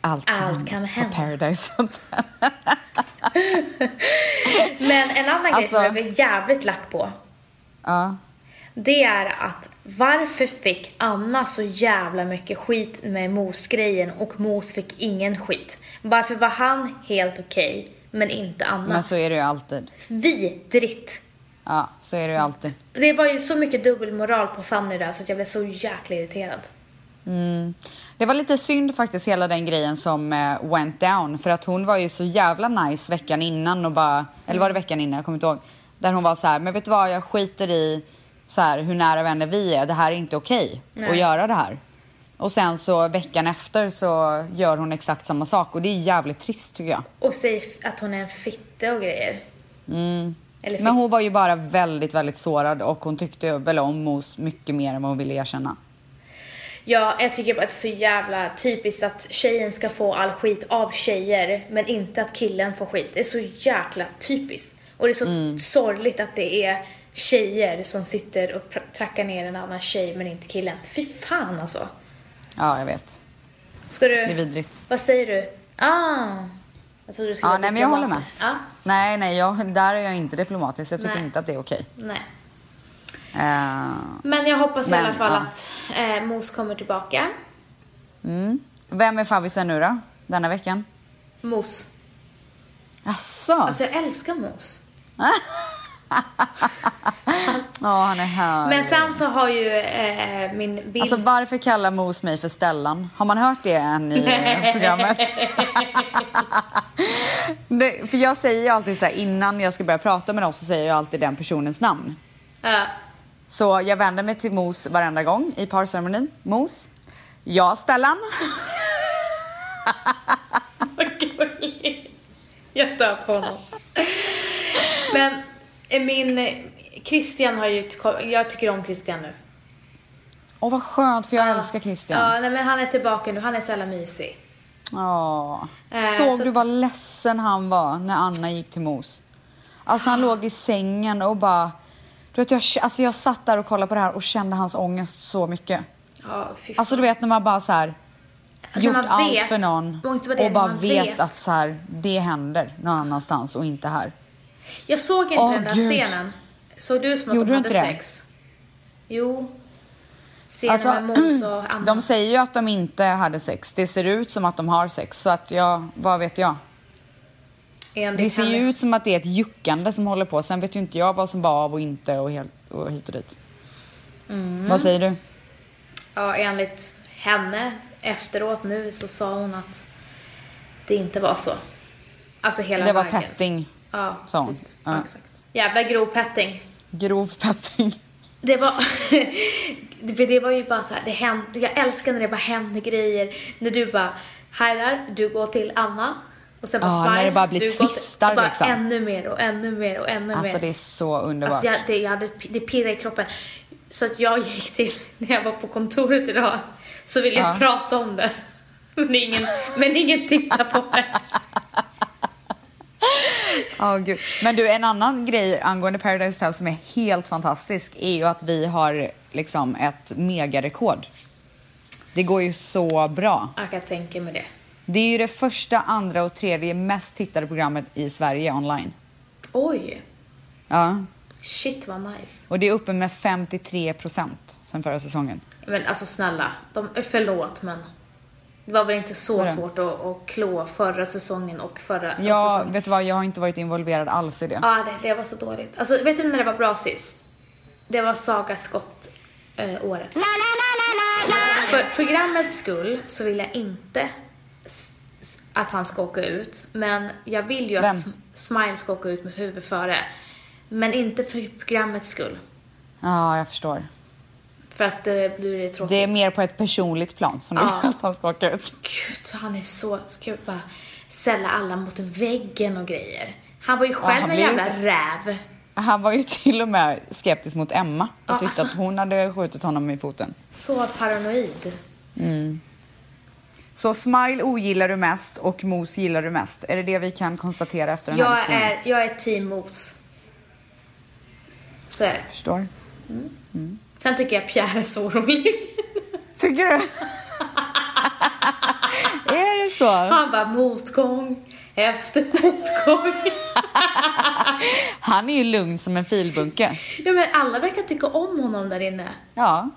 Speaker 1: allt kan,
Speaker 2: Allt kan hända.
Speaker 1: på Paradise Hotel.
Speaker 2: Men en annan grej som
Speaker 1: Alltså-
Speaker 2: jag blir jävligt lack på,
Speaker 1: Ja.
Speaker 2: det är att varför fick Anna så jävla mycket skit med Mos-grejen och Mos fick ingen skit? Varför var han helt okej, men inte Anna?
Speaker 1: Men alltså- så är det ju alltid.
Speaker 2: Vidrigt!
Speaker 1: Ja, så är det ju alltid.
Speaker 2: Det var ju så mycket dubbelmoral på Fanny där så att jag blev så jäkla irriterad.
Speaker 1: Mm. Det var lite synd faktiskt hela den grejen som eh, went down för att hon var ju så jävla nice veckan innan och bara, eller var det veckan innan, jag kommer inte ihåg. Där hon var så här, men vet du vad jag skiter i så här, hur nära vänner vi är, det här är inte okej
Speaker 2: Nej.
Speaker 1: att göra det här. Och sen så veckan efter så gör hon exakt samma sak och det är jävligt trist tycker jag.
Speaker 2: Och säger f- att hon är en fitte och grejer.
Speaker 1: Mm.
Speaker 2: Eller fitte.
Speaker 1: Men hon var ju bara väldigt, väldigt sårad och hon tyckte ju väl om Mos mycket mer än vad hon ville erkänna.
Speaker 2: Ja, jag tycker bara att det är så jävla typiskt att tjejen ska få all skit av tjejer men inte att killen får skit. Det är så jäkla typiskt. Och det är så
Speaker 1: Mm.
Speaker 2: sorgligt att det är tjejer som sitter och pr- trackar ner en annan tjej men inte killen. Fy fan alltså.
Speaker 1: Ja, jag vet.
Speaker 2: Ska du...
Speaker 1: Det är vidrigt.
Speaker 2: Vad säger du? Ah! Jag trodde du
Speaker 1: Ja,
Speaker 2: skulle vara
Speaker 1: Ah, nej, men jag håller
Speaker 2: diplomat.
Speaker 1: med.
Speaker 2: Ja,
Speaker 1: Nej, nej, jag, där är jag inte diplomatisk. Jag tycker
Speaker 2: Nej.
Speaker 1: inte att det är okej.
Speaker 2: nej.
Speaker 1: Eh,
Speaker 2: Men jag hoppas i
Speaker 1: Men,
Speaker 2: alla fall
Speaker 1: ja.
Speaker 2: att eh, Mos kommer tillbaka.
Speaker 1: mm. Vem är favvisen nu då? denna veckan?
Speaker 2: Mos.
Speaker 1: Asså?
Speaker 2: Alltså jag älskar mos.
Speaker 1: Ja, han är här.
Speaker 2: Men sen så har ju eh, min bild...
Speaker 1: Alltså varför kallar Mos mig för Stellan? Har man hört det än i eh, programmet? det, för jag säger ju alltid så här innan jag ska börja prata med någon så säger jag alltid den personens namn.
Speaker 2: Ja.
Speaker 1: Så jag vänder mig till Mos varenda gång i parceremonin. Mos. Ja, Stellan.
Speaker 2: Vad gulligt. Jag dör på honom. Men eh, min... eh, Christian har ju... ett ko- Jag tycker om Christian nu.
Speaker 1: Åh vad skönt för jag älskar Christian.
Speaker 2: Ja, nej, men han är tillbaka nu. Han är så jävla mysig.
Speaker 1: Ja.
Speaker 2: Eh,
Speaker 1: Såg
Speaker 2: så-
Speaker 1: du vad ledsen han var när Anna gick till Mos? Alltså han låg i sängen och bara... Du vet, jag, alltså jag satt där och kollade på det här och kände hans ångest så mycket.
Speaker 2: Ja, fy fan.
Speaker 1: Alltså du vet när man bara så här
Speaker 2: Alltså,
Speaker 1: gjort
Speaker 2: man
Speaker 1: allt
Speaker 2: vet.
Speaker 1: för någon
Speaker 2: Och inte bara det,
Speaker 1: och bara
Speaker 2: man
Speaker 1: vet,
Speaker 2: vet.
Speaker 1: att så här, det händer någon annanstans och inte här.
Speaker 2: Jag såg inte
Speaker 1: Åh,
Speaker 2: den där
Speaker 1: Gud.
Speaker 2: scenen. Såg du som att
Speaker 1: Gjorde
Speaker 2: de
Speaker 1: du
Speaker 2: hade
Speaker 1: inte det?
Speaker 2: sex? Jo. Scenen
Speaker 1: Alltså,
Speaker 2: med Måns och Anna.
Speaker 1: de säger ju att de inte hade sex. Det ser ut som att de har sex så att jag, vad vet jag.
Speaker 2: En,
Speaker 1: Det ser
Speaker 2: kan-
Speaker 1: ju ut som att det är ett juckande som håller på. Sen vet ju inte jag vad som var av och inte och, helt, och hit och dit.
Speaker 2: Mm.
Speaker 1: Vad säger du?
Speaker 2: Ja, enligt henne efteråt nu så sa hon att det inte var så. Alltså hela
Speaker 1: Det var
Speaker 2: vägen.
Speaker 1: petting.
Speaker 2: Ja,
Speaker 1: sa hon.
Speaker 2: Typ.
Speaker 1: Ja.
Speaker 2: Ja. Exakt. Jävla grov petting.
Speaker 1: Grov petting.
Speaker 2: Det var, för det var ju bara så här, det hände, jag älskar när det bara händer grejer. När du bara, här där, du går till Anna. Och sen bara
Speaker 1: Ja,
Speaker 2: smile,
Speaker 1: när det bara blir
Speaker 2: du går till-
Speaker 1: twistar
Speaker 2: bara
Speaker 1: liksom.
Speaker 2: ännu mer och ännu mer och ännu mer.
Speaker 1: Alltså det är så underbart.
Speaker 2: Alltså jag, det, jag hade, det pirrade i kroppen. Så att jag gick till, när jag var på kontoret idag, så ville jag
Speaker 1: Ja.
Speaker 2: prata om det. Men ingen, men ingen tittar på det.
Speaker 1: Ja, gud. Men du, en annan grej angående Paradise Hotel som är helt fantastisk är ju att vi har liksom ett megarekord. Det går ju så bra.
Speaker 2: Jag kan tänka mig det.
Speaker 1: Det är ju det första, andra och tredje mest tittade programmet i Sverige online.
Speaker 2: Oj,
Speaker 1: Ja,
Speaker 2: shit vad nice.
Speaker 1: och det är uppe med 53 procent sen förra säsongen.
Speaker 2: Men alltså snälla, de, förlåt men. Det var väl inte så
Speaker 1: Vadå?
Speaker 2: svårt att, att klå förra säsongen och förra
Speaker 1: Jag,
Speaker 2: säsongen.
Speaker 1: vet du vad, jag har inte varit involverad alls i det.
Speaker 2: Ja, det, det var så dåligt. Alltså vet du när det var bra sist? Det var Saga Skott-året. För programmets skull så vill jag inte s- s- att han ska åka ut. Men jag vill ju
Speaker 1: Vem?
Speaker 2: att S- Smile ska åka ut med huvud före. Men inte för programmets skull.
Speaker 1: Ja, jag förstår.
Speaker 2: För att det blir det tråkigt.
Speaker 1: Det är mer på ett personligt plan som du
Speaker 2: Ja.
Speaker 1: vill att han ska åka ut.
Speaker 2: Gud, han är så... Ska jag bara ställa alla mot väggen och grejer. Han var ju själv
Speaker 1: han
Speaker 2: en
Speaker 1: blir ju
Speaker 2: jävla räv.
Speaker 1: Han var ju till och med skeptisk mot Emma och
Speaker 2: Ja,
Speaker 1: tyckte
Speaker 2: alltså.
Speaker 1: att hon hade skjutit honom i foten.
Speaker 2: Så paranoid.
Speaker 1: Så Smile ogillar du mest och Mos gillar du mest. Är det det vi kan konstatera efter den här
Speaker 2: Jag
Speaker 1: diskussionen?
Speaker 2: är, jag är team mos. Så är det.
Speaker 1: Förstår.
Speaker 2: Sen tycker jag Pierre är så rolig.
Speaker 1: Tycker du? är det så?
Speaker 2: Han bara motgång efter motgång.
Speaker 1: Han är ju lugn som en filbunke.
Speaker 2: ja, men alla verkar tycka om honom där inne.
Speaker 1: Ja.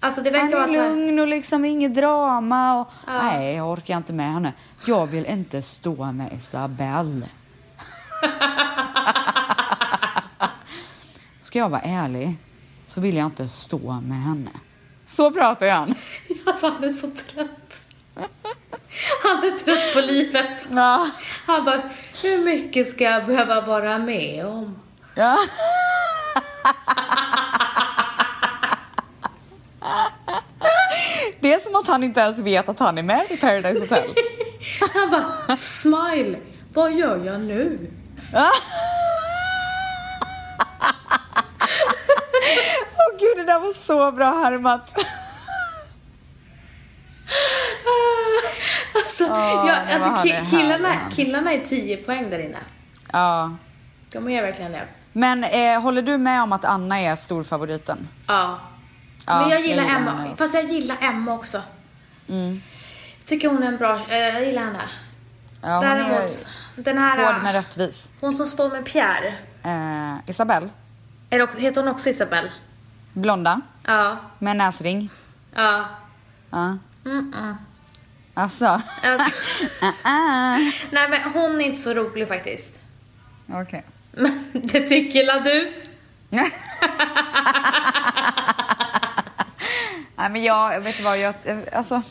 Speaker 2: Alltså det
Speaker 1: Han
Speaker 2: verkar vara
Speaker 1: är
Speaker 2: så här,
Speaker 1: lugn och liksom inget drama. Och... Nej, jag orkar inte med henne. Jag vill inte stå med Isabelle. Ska jag vara ärlig så vill jag inte stå med henne. Så pratar han.
Speaker 2: alltså han är så trött. Han är trött på livet.
Speaker 1: Ja.
Speaker 2: Han bara, hur mycket ska jag behöva vara med om?
Speaker 1: Ja. Det är som att han inte ens vet att han är med i Paradise Hotel.
Speaker 2: Han bara, smile, vad gör jag nu?
Speaker 1: Åh gud, det där var så bra härmat.
Speaker 2: Alltså,
Speaker 1: Ja,
Speaker 2: jag,
Speaker 1: men
Speaker 2: alltså
Speaker 1: vad härlig,
Speaker 2: ki-
Speaker 1: härlig
Speaker 2: killarna,
Speaker 1: han.
Speaker 2: killarna är 10 poäng där inne.
Speaker 1: Ja.
Speaker 2: De är verkligen det.
Speaker 1: Men eh, håller du med om att Anna är storfavoriten?
Speaker 2: Ja.
Speaker 1: Ja,
Speaker 2: Men jag
Speaker 1: jag
Speaker 2: gillar
Speaker 1: gillar
Speaker 2: Emma.
Speaker 1: henne.
Speaker 2: Fast jag gillar Emma också.
Speaker 1: Mm.
Speaker 2: Jag tycker hon är en bra... eh, jag gillar henne.
Speaker 1: Ja, hon
Speaker 2: Däremot, den
Speaker 1: är hård
Speaker 2: här... eh,
Speaker 1: men rättvis.
Speaker 2: Hon som står med Pierre.
Speaker 1: Eh, Isabelle,
Speaker 2: Är det, också- heter hon också Isabelle?
Speaker 1: blonda,
Speaker 2: Ja.
Speaker 1: med näsring.
Speaker 2: Ja.
Speaker 1: Ja.
Speaker 2: Mm-mm.
Speaker 1: Alltså.
Speaker 2: Alltså.
Speaker 1: Ah,
Speaker 2: Nej men hon är inte så rolig faktiskt.
Speaker 1: ah. Okej.
Speaker 2: Men det tycker la du?
Speaker 1: Nej men jag, vet du vad, jag, alltså.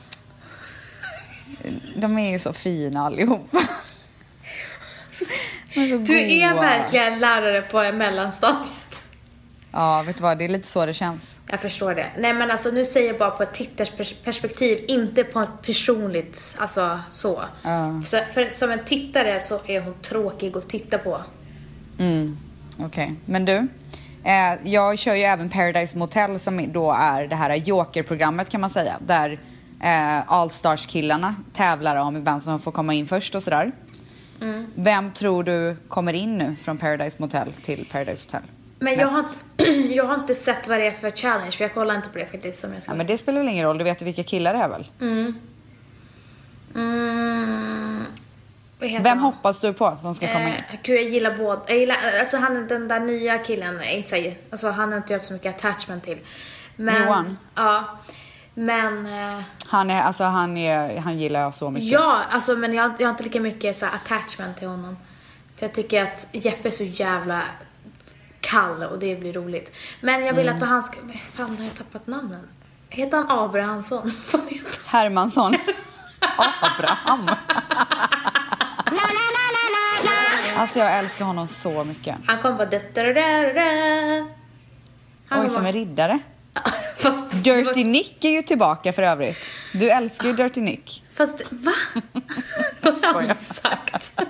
Speaker 1: De är ju så fina allihopa. De är så
Speaker 2: Du är
Speaker 1: goa.
Speaker 2: verkligen lärare på mellanstadiet.
Speaker 1: Ja, vet du vad, det är lite så det känns.
Speaker 2: Jag förstår det. Nej men alltså nu säger jag bara på ett tittarsperspektiv, inte på ett personligt, alltså så.
Speaker 1: Ja.
Speaker 2: så för som en tittare så är hon tråkig att titta på.
Speaker 1: Mm, okej. Men du, eh, jag kör ju även Paradise Motel som då är det här jokerprogrammet kan man säga. Där eh, Allstars-killarna tävlar om vem som får komma in först och sådär.
Speaker 2: Mm.
Speaker 1: Vem tror du kommer in nu från Paradise Motel till Paradise Hotel?
Speaker 2: Men jag har,
Speaker 1: Mest.
Speaker 2: inte, jag har inte sett vad det är för challenge, för jag kollar inte på det faktiskt som jag
Speaker 1: Ja,
Speaker 2: ska.
Speaker 1: men det spelar väl ingen roll, du vet ju vilka killar det är väl?
Speaker 2: Mm, vad heter
Speaker 1: Vem
Speaker 2: han?
Speaker 1: hoppas du på som ska komma in?
Speaker 2: Eh, gud, jag gillar båda. Jag gillar, alltså han, den där nya killen, är inte säger, alltså han har inte jag haft så mycket attachment till. Men,
Speaker 1: Johan?
Speaker 2: Ja. Men, eh,
Speaker 1: Han, är, alltså, han, är, han gillar jag så mycket.
Speaker 2: ja, alltså men jag, har inte- jag har inte lika mycket så här, attachment till honom. För jag tycker att Jeppe är så jävla kall och det blir roligt. Men jag
Speaker 1: Mm.
Speaker 2: vill att han ska, men fan har jag tappat namnen? Heter han Abrahamsson? Vad heter han?
Speaker 1: Hermansson. Abraham. alltså jag älskar honom så mycket.
Speaker 2: Han kommer vara da-da-da-da-da.
Speaker 1: Oj,
Speaker 2: Han kommer
Speaker 1: som en
Speaker 2: vara-
Speaker 1: riddare.
Speaker 2: Fast,
Speaker 1: Dirty Nick är ju tillbaka för övrigt. Du älskar ju Dirty Nick.
Speaker 2: Fast va? Vad har han sagt?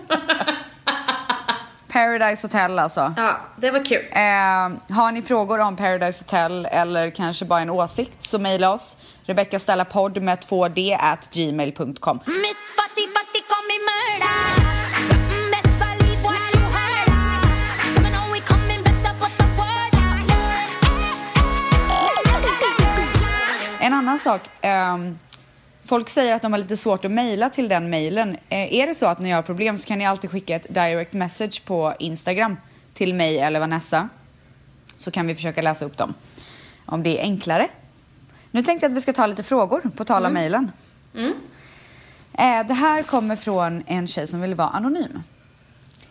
Speaker 1: Paradise Hotel alltså.
Speaker 2: Ja, det var kul.
Speaker 1: Eh, har ni frågor om Paradise Hotel eller kanske bara en åsikt så mejla oss. Rebecca Stella podd med 2d at gmail.com.
Speaker 3: Miss Fatty Fatty call me murder. Best believe what you heard. Coming on, we coming back up with the word out.
Speaker 1: En annan sak. ehm, folk säger att de har lite svårt att mejla till den mejlen. Eh, är det så att ni har problem så kan ni alltid skicka ett direct message på Instagram till mig eller Vanessa. Så kan vi försöka läsa upp dem. Om det är enklare. Nu tänkte jag att vi ska ta lite frågor på tal om mejlen. Eh, det här kommer från en tjej som vill vara anonym.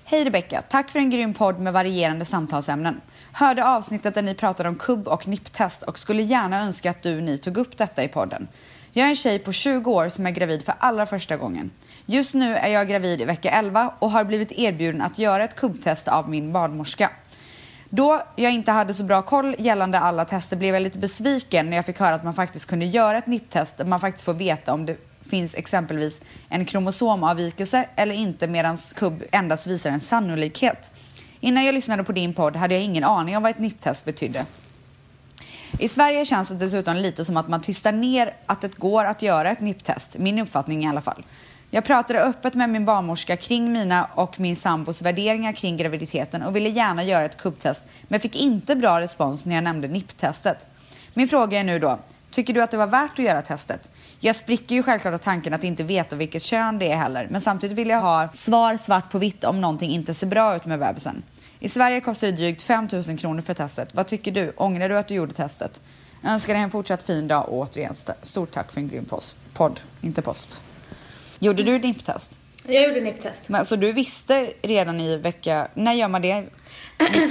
Speaker 1: Hej Rebecka, tack för en grym podd med varierande samtalsämnen. Hörde avsnittet där ni pratade om kubb och nipptest och skulle gärna önska att du ni tog upp detta i podden. Jag är en tjej på 20 år som är gravid för allra första gången. Just nu är jag gravid i vecka 11 och har blivit erbjuden att göra ett kubbtest av min barnmorska. Då jag inte hade så bra koll gällande alla tester blev jag lite besviken när jag fick höra att man faktiskt kunde göra ett nipptest där man faktiskt får veta om det finns exempelvis en kromosomavvikelse eller inte medan kubb endast visar en sannolikhet. Innan jag lyssnade på din podd hade jag ingen aning om vad ett nipptest betydde. I Sverige känns det dessutom lite som att man tystar ner att det går att göra ett nipptest, min uppfattning i alla fall. Jag pratade öppet med min barnmorska kring mina och min sambos värderingar kring graviditeten och ville gärna göra ett kubbtest men fick inte bra respons när jag nämnde nipptestet. Min fråga är nu då, tycker du att det var värt att göra testet? Jag spricker ju självklart av tanken att inte veta vilket kön det är heller men samtidigt vill jag ha svar svart på vitt om någonting inte ser bra ut med bebisen. I Sverige kostar det drygt 5 000 kronor för testet. Vad tycker du? Ångrar du att du gjorde testet? Jag önskar dig en fortsatt fin dag och återigen st- stort tack för en grym post. podd. Inte post. Gjorde du nipptest?
Speaker 2: Jag gjorde nipptest.
Speaker 1: Men, så du visste redan i vecka... När gör man det?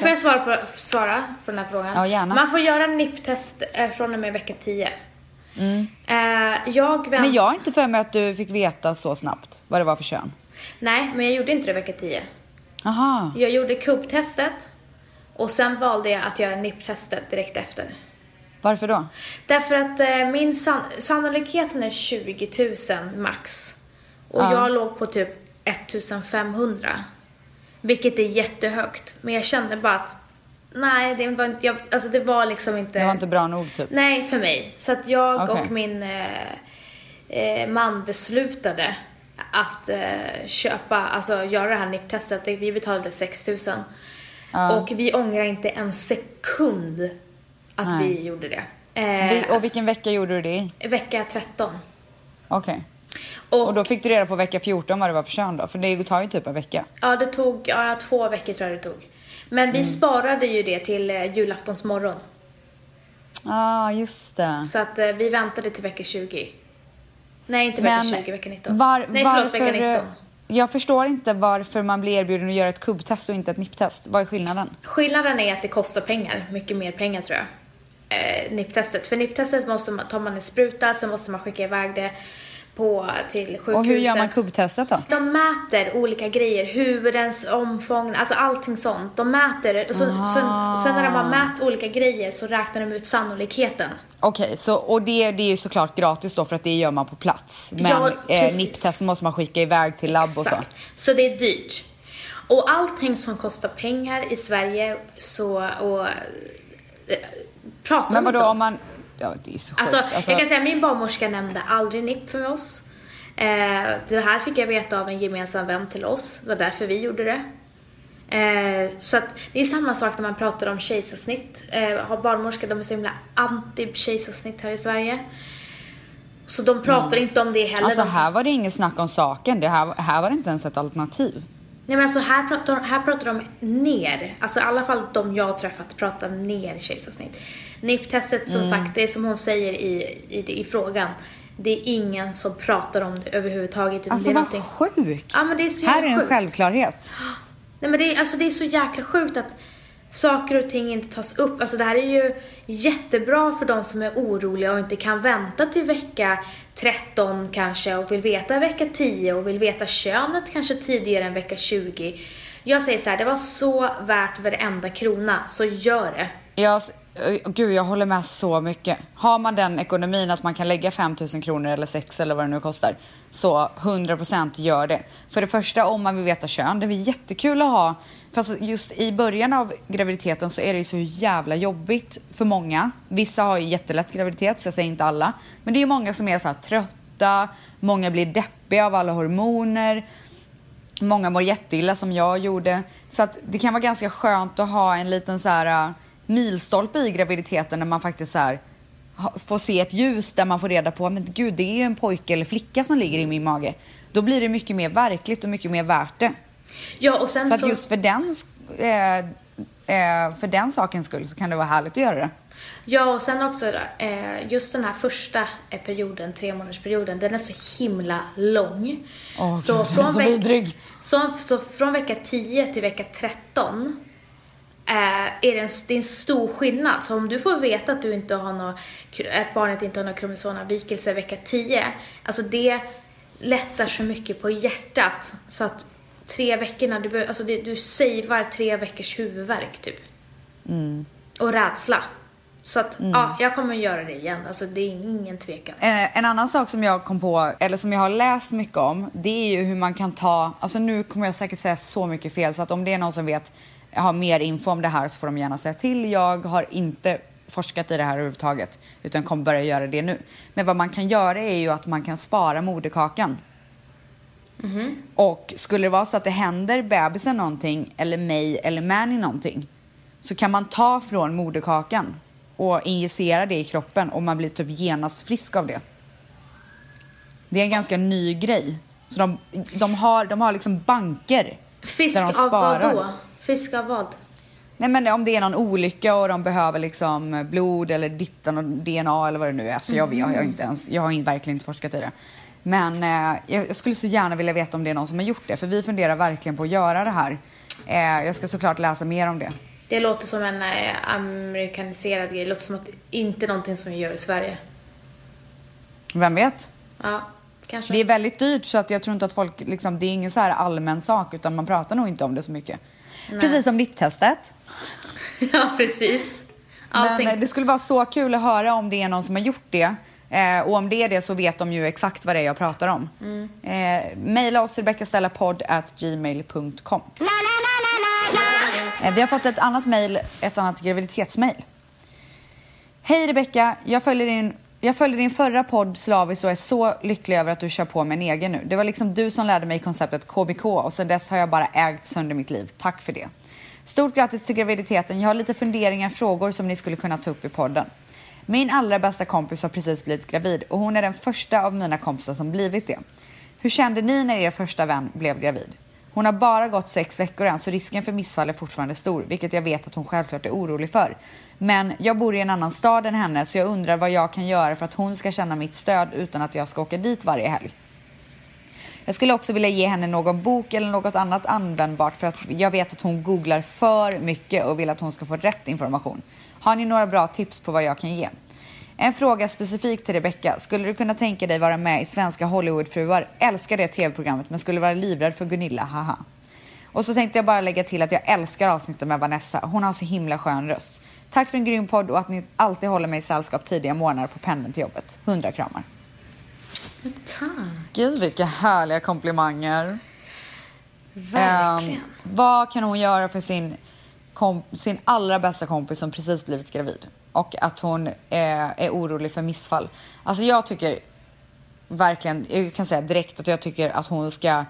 Speaker 2: Får jag svara på, svara på den här frågan?
Speaker 1: Ja, gärna.
Speaker 2: Man får göra nipptest eh, från och med vecka 10. Eh, jag vänt...
Speaker 1: Mm. Men jag har inte för mig att du fick veta så snabbt vad det var för kön.
Speaker 2: Nej, men jag gjorde inte det vecka 10.
Speaker 1: Aha.
Speaker 2: Jag gjorde kubbtestet och sen valde jag att göra nipptestet direkt efter.
Speaker 1: Varför då?
Speaker 2: Därför att eh, min san- sannolikheten är 20 000 max. Och
Speaker 1: Ja.
Speaker 2: jag låg på typ 1500. Vilket är jättehögt. Men jag kände bara att nej, det var, inte, jag, alltså det var liksom inte...
Speaker 1: Det var inte bra nog typ.
Speaker 2: Nej, för mig. Så att jag
Speaker 1: Okej.
Speaker 2: och min eh, eh, man beslutade att eh, köpa, alltså göra det här nipptestet. Vi betalade 6 000.
Speaker 1: Ja.
Speaker 2: Och vi ångrar inte en sekund att
Speaker 1: Nej.
Speaker 2: vi gjorde det. Eh,
Speaker 1: Vi, och
Speaker 2: alltså-
Speaker 1: vilken vecka gjorde du det i?
Speaker 2: Vecka 13.
Speaker 1: Okej.
Speaker 2: Och,
Speaker 1: Och då fick du reda på vecka 14 vad det var för kön då? För det tar ju typ en vecka.
Speaker 2: ja, det tog ja, ja, två veckor tror jag det tog. Men
Speaker 1: Mm.
Speaker 2: vi sparade ju det till eh, julaftonsmorgon.
Speaker 1: Ja, ah, just det.
Speaker 2: Så att eh, vi väntade till vecka 20. Nej, inte vecka 20, vecka 19.
Speaker 1: var-
Speaker 2: Nej, förlåt,
Speaker 1: varför,
Speaker 2: vecka 19.
Speaker 1: Jag förstår inte varför man blir erbjuden att göra ett kubbtest och inte ett nipptest. Vad är skillnaden?
Speaker 2: Skillnaden är att det kostar pengar, mycket mer pengar tror jag. Eh, nipptestet. För nipptestet måste man, tar man en spruta, sen måste man skicka iväg det på, till sjukhuset.
Speaker 1: Och hur gör man kubbtestet då?
Speaker 2: De mäter olika grejer, huvudens omfång, alltså allting sånt. De mäter, och så, sen,
Speaker 1: Ah.
Speaker 2: sen när de har mätt olika grejer så räknar de ut sannolikheten.
Speaker 1: Okej, så, och det, det är ju såklart gratis då för att det gör man på plats. Men
Speaker 2: Ja,
Speaker 1: eh,
Speaker 2: precis.
Speaker 1: nipptest måste man skicka iväg till labb och så.
Speaker 2: Exakt. Så det är dyrt. Och allting som kostar pengar i Sverige så, och, eh, pratar
Speaker 1: Men
Speaker 2: vi inte
Speaker 1: vadå
Speaker 2: om.
Speaker 1: om man... Ja, det är ju så sjukt.
Speaker 2: Alltså, Jag kan säga min barnmorska nämnde aldrig NIP för oss. Eh, det här fick jag veta av en gemensam vän till oss. Det var därför vi gjorde det. Eh, så att det är samma sak när man pratar om kejsarsnitt. Eh, har barnmorska, de är så himla anti-kejsarsnitt här i Sverige. Så de pratar inte om det heller.
Speaker 1: Alltså
Speaker 2: de,
Speaker 1: här var det inget snack om saken. Det här, här var det inte ens ett alternativ.
Speaker 2: nej men alltså här pratar, här pratar de ner. Alltså i alla fall de jag har träffat pratar ner kejsarsnitt. NIP-testet
Speaker 1: Mm.
Speaker 2: som sagt, det är som hon säger i, i, det- i frågan. Det är ingen som pratar om det överhuvudtaget. utan
Speaker 1: Alltså
Speaker 2: det är
Speaker 1: vad
Speaker 2: någonting-
Speaker 1: sjukt.
Speaker 2: Ja, men det är så
Speaker 1: här
Speaker 2: jävla
Speaker 1: är det en
Speaker 2: sjukt.
Speaker 1: självklarhet.
Speaker 2: Nej men det är, alltså, det är så jäkla sjukt att saker och ting inte tas upp. Alltså det här är ju jättebra för de som är oroliga och inte kan vänta till vecka 13 kanske och vill veta vecka 10 och vill veta könet kanske tidigare än vecka 20. Jag säger så här, det var så värt varenda krona, så gör det.
Speaker 1: Jag, eh, gud, jag håller med så mycket. Har man den ekonomin att man kan lägga 5 000 kronor eller 6 eller vad det nu kostar, så 100% gör det. För det första, om man vill veta kön, det är väl jättekul att ha. Fast just i början av graviditeten så är det ju så jävla jobbigt för många. Vissa har ju jättelätt graviditet, så jag säger inte alla. Men det är ju många som är så här trötta, många blir deppiga av alla hormoner. Många mår jätteilla som jag gjorde. Så att det kan vara ganska skönt att ha en liten så här, äh, milstolpe i graviditeten när man faktiskt så här, ha- får se ett ljus där man får reda på men gud det är ju en pojke eller flicka som ligger i min mage. Då blir det mycket mer verkligt och mycket mer värt det.
Speaker 2: Ja, och sen
Speaker 1: Så att
Speaker 2: från-
Speaker 1: just för den, sk- eh, eh, för den sakens skull så kan det vara härligt att göra det.
Speaker 2: Ja, och sen också eh, just den här första eh, perioden, tre månadersperioden, den är så himla lång.
Speaker 1: Åh, gud, den är så
Speaker 2: veck-
Speaker 1: vidrig.
Speaker 2: så, så från vecka 10 till vecka 13 eh, är det, en, det är en stor skillnad. Så om du får veta att, du inte har nå, att barnet inte har någon kromosomavvikelse vecka 10, alltså det lättar så mycket på hjärtat så att tre veckorna, du, behöver- alltså det, du savear tre veckors huvudvärk typ
Speaker 1: Mm.
Speaker 2: och rädsla. Så att, ja, jag kommer göra det igen. Alltså det är ingen tvekan.
Speaker 1: Eh, En annan sak som jag kom på, eller som jag har läst mycket om, det är ju hur man kan ta, alltså nu kommer jag säkert säga så mycket fel så att om det är någon som vet, har mer info om det här så får de gärna säga till. Jag har inte forskat i det här överhuvudtaget utan kommer börja göra det nu. Men vad man kan göra är ju att man kan spara moderkakan. Och skulle det vara så att det händer bebisen någonting eller mig eller Manny någonting så kan man ta från moderkakan och injicera det i kroppen och man blir typ genast frisk av det. Det är en ganska ny grej. Så de, de, har, de har liksom banker
Speaker 2: Fisk
Speaker 1: där de
Speaker 2: av vad
Speaker 1: sparar.
Speaker 2: då? Fisk av vad?
Speaker 1: Nej men om det är någon olycka och de behöver liksom blod eller dittan och DNA eller vad det nu är. Så jag, vet, jag, har inte ens, jag har in- verkligen inte forskat i det. Men eh, jag jag skulle så gärna vilja veta om det är någon som har gjort det. För vi funderar verkligen på att göra det här. Eh, jag ska såklart läsa mer om det.
Speaker 2: Det låter som en eh, amerikaniserad grej. Det låter som att inte någonting som vi gör i Sverige.
Speaker 1: Vem vet?
Speaker 2: Ja, kanske.
Speaker 1: Det är väldigt dyrt så att jag tror inte att folk, liksom, det är ingen så här allmän sak utan man pratar nog inte om det så mycket. Precis som nipptestet.
Speaker 2: ja, precis. Allting.
Speaker 1: Men eh, det skulle vara så kul att höra om det är någon som har gjort det. Eh, och om det är det så vet de ju exakt vad det är jag pratar om. Eh, maila oss rebeckastellapodd.gmail.com eh, Vi har fått ett annat mail, ett annat graviditetsmail. Hej Rebecka, jag följer din jag följer din förra podd slaviskt och är så lycklig över att du kör på med en egen nu. Det var liksom du som lärde mig konceptet KBK och sedan dess har jag bara ägt sönder mitt liv. Tack för det. Stort grattis till graviditeten. Jag har lite funderingar och frågor som ni skulle kunna ta upp i podden. Min allra bästa kompis har precis blivit gravid och hon är den första av mina kompisar som blivit det. Hur kände ni när er första vän blev gravid? Hon har bara gått sex veckor än så risken för missfall är fortfarande stor, vilket jag vet att hon självklart är orolig för. Men jag bor i en annan stad än henne så jag undrar vad jag kan göra för att hon ska känna mitt stöd utan att jag ska åka dit varje helg. Jag skulle också vilja ge henne någon bok eller något annat användbart för att jag vet att hon googlar för mycket och vill att hon ska få rätt information. Har ni några bra tips på vad jag kan ge? En fråga specifikt till Rebecca. Skulle du kunna tänka dig vara med i Svenska Hollywoodfruar? Älskar det tv-programmet men skulle vara livrädd för Gunilla, haha. Och så tänkte jag bara lägga till att jag älskar avsnittet med Vanessa. Hon har så himla skön röst. Tack för en grym podd och att ni alltid håller mig i sällskap tidiga morgnar på pendeln till jobbet. Hundra kramar.
Speaker 2: Tack.
Speaker 1: Gud vilka härliga komplimanger.
Speaker 2: Verkligen.
Speaker 1: Ehm, vad kan hon göra för sin, kom, sin allra bästa kompis som precis blivit gravid? Och att hon eh, är orolig för missfall. Alltså jag tycker verkligen, jag kan säga direkt att jag tycker att hon ska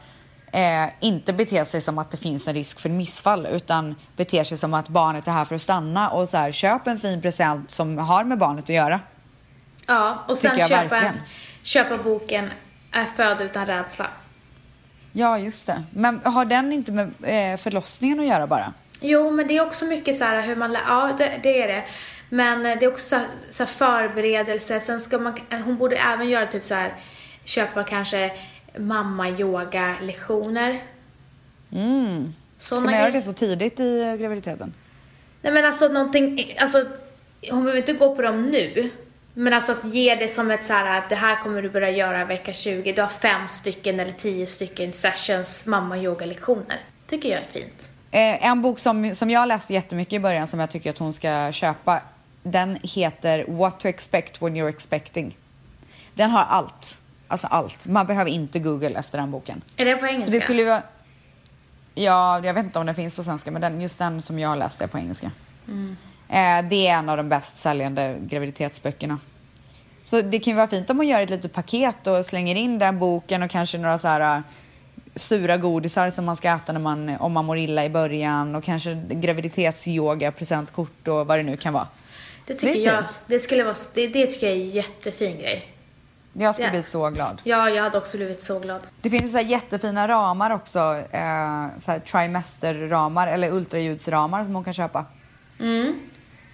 Speaker 1: eh, inte bete sig som att det finns en risk för missfall utan bete sig som att barnet är här för att stanna och så här, köp en fin present som har med barnet att göra.
Speaker 2: ja, och sen
Speaker 1: tycker jag
Speaker 2: köpa, en,
Speaker 1: verkligen.
Speaker 2: köpa boken Är född utan rädsla.
Speaker 1: Ja, just det. Men har den inte med eh, förlossningen att göra bara?
Speaker 2: Jo, men det är också mycket så här hur man lär, ja det, det är det. Men eh, det är också så här, så här förberedelse. Sen ska man, eh, hon borde även göra typ så här, köpa kanske mamma-yoga-lektioner.
Speaker 1: Mm. Ska
Speaker 2: Såna
Speaker 1: man göra
Speaker 2: grejer.
Speaker 1: det så tidigt i eh, graviditeten?
Speaker 2: Nej men alltså någonting, alltså hon behöver inte gå på dem nu. Men alltså att ge det som ett så här att det här kommer du börja göra vecka 20. Du har fem stycken eller tio stycken sessions mamma yoga lektioner. Tycker jag är fint.
Speaker 1: Eh, en bok som, som jag läste jättemycket i början som jag tycker att hon ska köpa den heter What to expect when you're expecting. Den har allt. Alltså allt. Man behöver inte Google efter den boken.
Speaker 2: Är det på engelska?
Speaker 1: Så Alltså, det skulle ju vara... Ja, jag vet inte om den finns på svenska men den, just den som jag läste är på engelska. Eh, det är en av de bäst säljande graviditetsböckerna. Så det kan ju vara fint om man gör ett litet paket och slänger in den boken och kanske några så här eh, sura godisar som man ska äta när man, om man mår illa i början och kanske graviditetsyoga, presentkort och vad det nu kan vara.
Speaker 2: det tycker
Speaker 1: det är
Speaker 2: jag,
Speaker 1: fint.
Speaker 2: det skulle vara, det, det tycker jag är en jättefin grej.
Speaker 1: Jag skulle
Speaker 2: Ja.
Speaker 1: bli så glad.
Speaker 2: Ja, jag hade också blivit så glad.
Speaker 1: Det finns så här jättefina ramar också, eh, så här trimesterramar eller ultraljudsramar som hon kan köpa. Mm.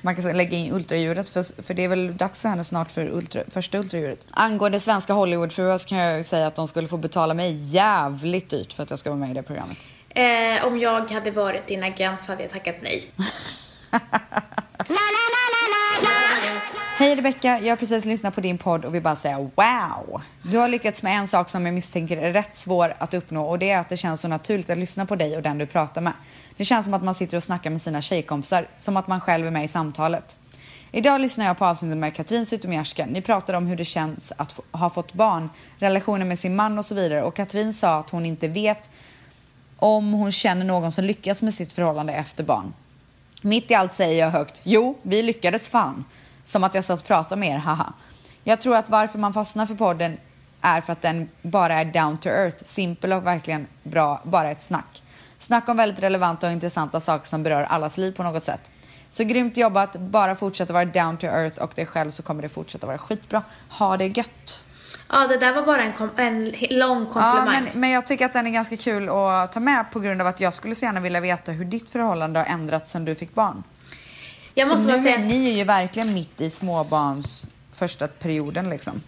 Speaker 1: Man kan lägga in ultraljudet för, för det är väl dags för henne snart för ultra, första ultraljudet. Angående svenska Hollywoodfruar så kan jag ju säga att de skulle få betala mig jävligt dyrt för att jag ska vara med i det programmet.
Speaker 2: Eh, om jag hade varit din agent så hade jag tackat nej.
Speaker 1: Hej Rebecka, jag har precis lyssnat på din podd och vill bara säga wow. Du har lyckats med en sak som jag misstänker är rätt svår att uppnå och det är att det känns så naturligt att lyssna på dig och den du pratar med. Det känns som att man sitter och snackar med sina tjejkompisar, som att man själv är med i samtalet. Idag lyssnar jag på avsnittet med Katrin Zytomierska. Ni pratade om hur det känns att få- ha fått barn, relationer med sin man och så vidare och Katrin sa att hon inte vet om hon känner någon som lyckats med sitt förhållande efter barn. Mitt i allt säger jag högt, jo, vi lyckades fan. Som att jag satt och pratade med er, haha. Jag tror att varför man fastnar för podden är för att den bara är down to earth, simpel och verkligen bra, bara ett snack. Snack om väldigt relevanta och intressanta saker som berör allas liv på något sätt. Så grymt jobbat, bara fortsätta vara down to earth och dig själv så kommer det fortsätta vara skitbra. Ha det gött!
Speaker 2: Ja, det där var bara en, kom, en he- lång
Speaker 1: Ja,
Speaker 2: komplimang.
Speaker 1: men, men jag tycker att den är ganska kul att ta med på grund av att jag skulle så gärna vilja veta hur ditt förhållande har ändrats sedan du fick barn.
Speaker 2: jag måste
Speaker 1: För
Speaker 2: bara
Speaker 1: nu
Speaker 2: säga...
Speaker 1: är ni är ju verkligen mitt i småbarns första perioden liksom.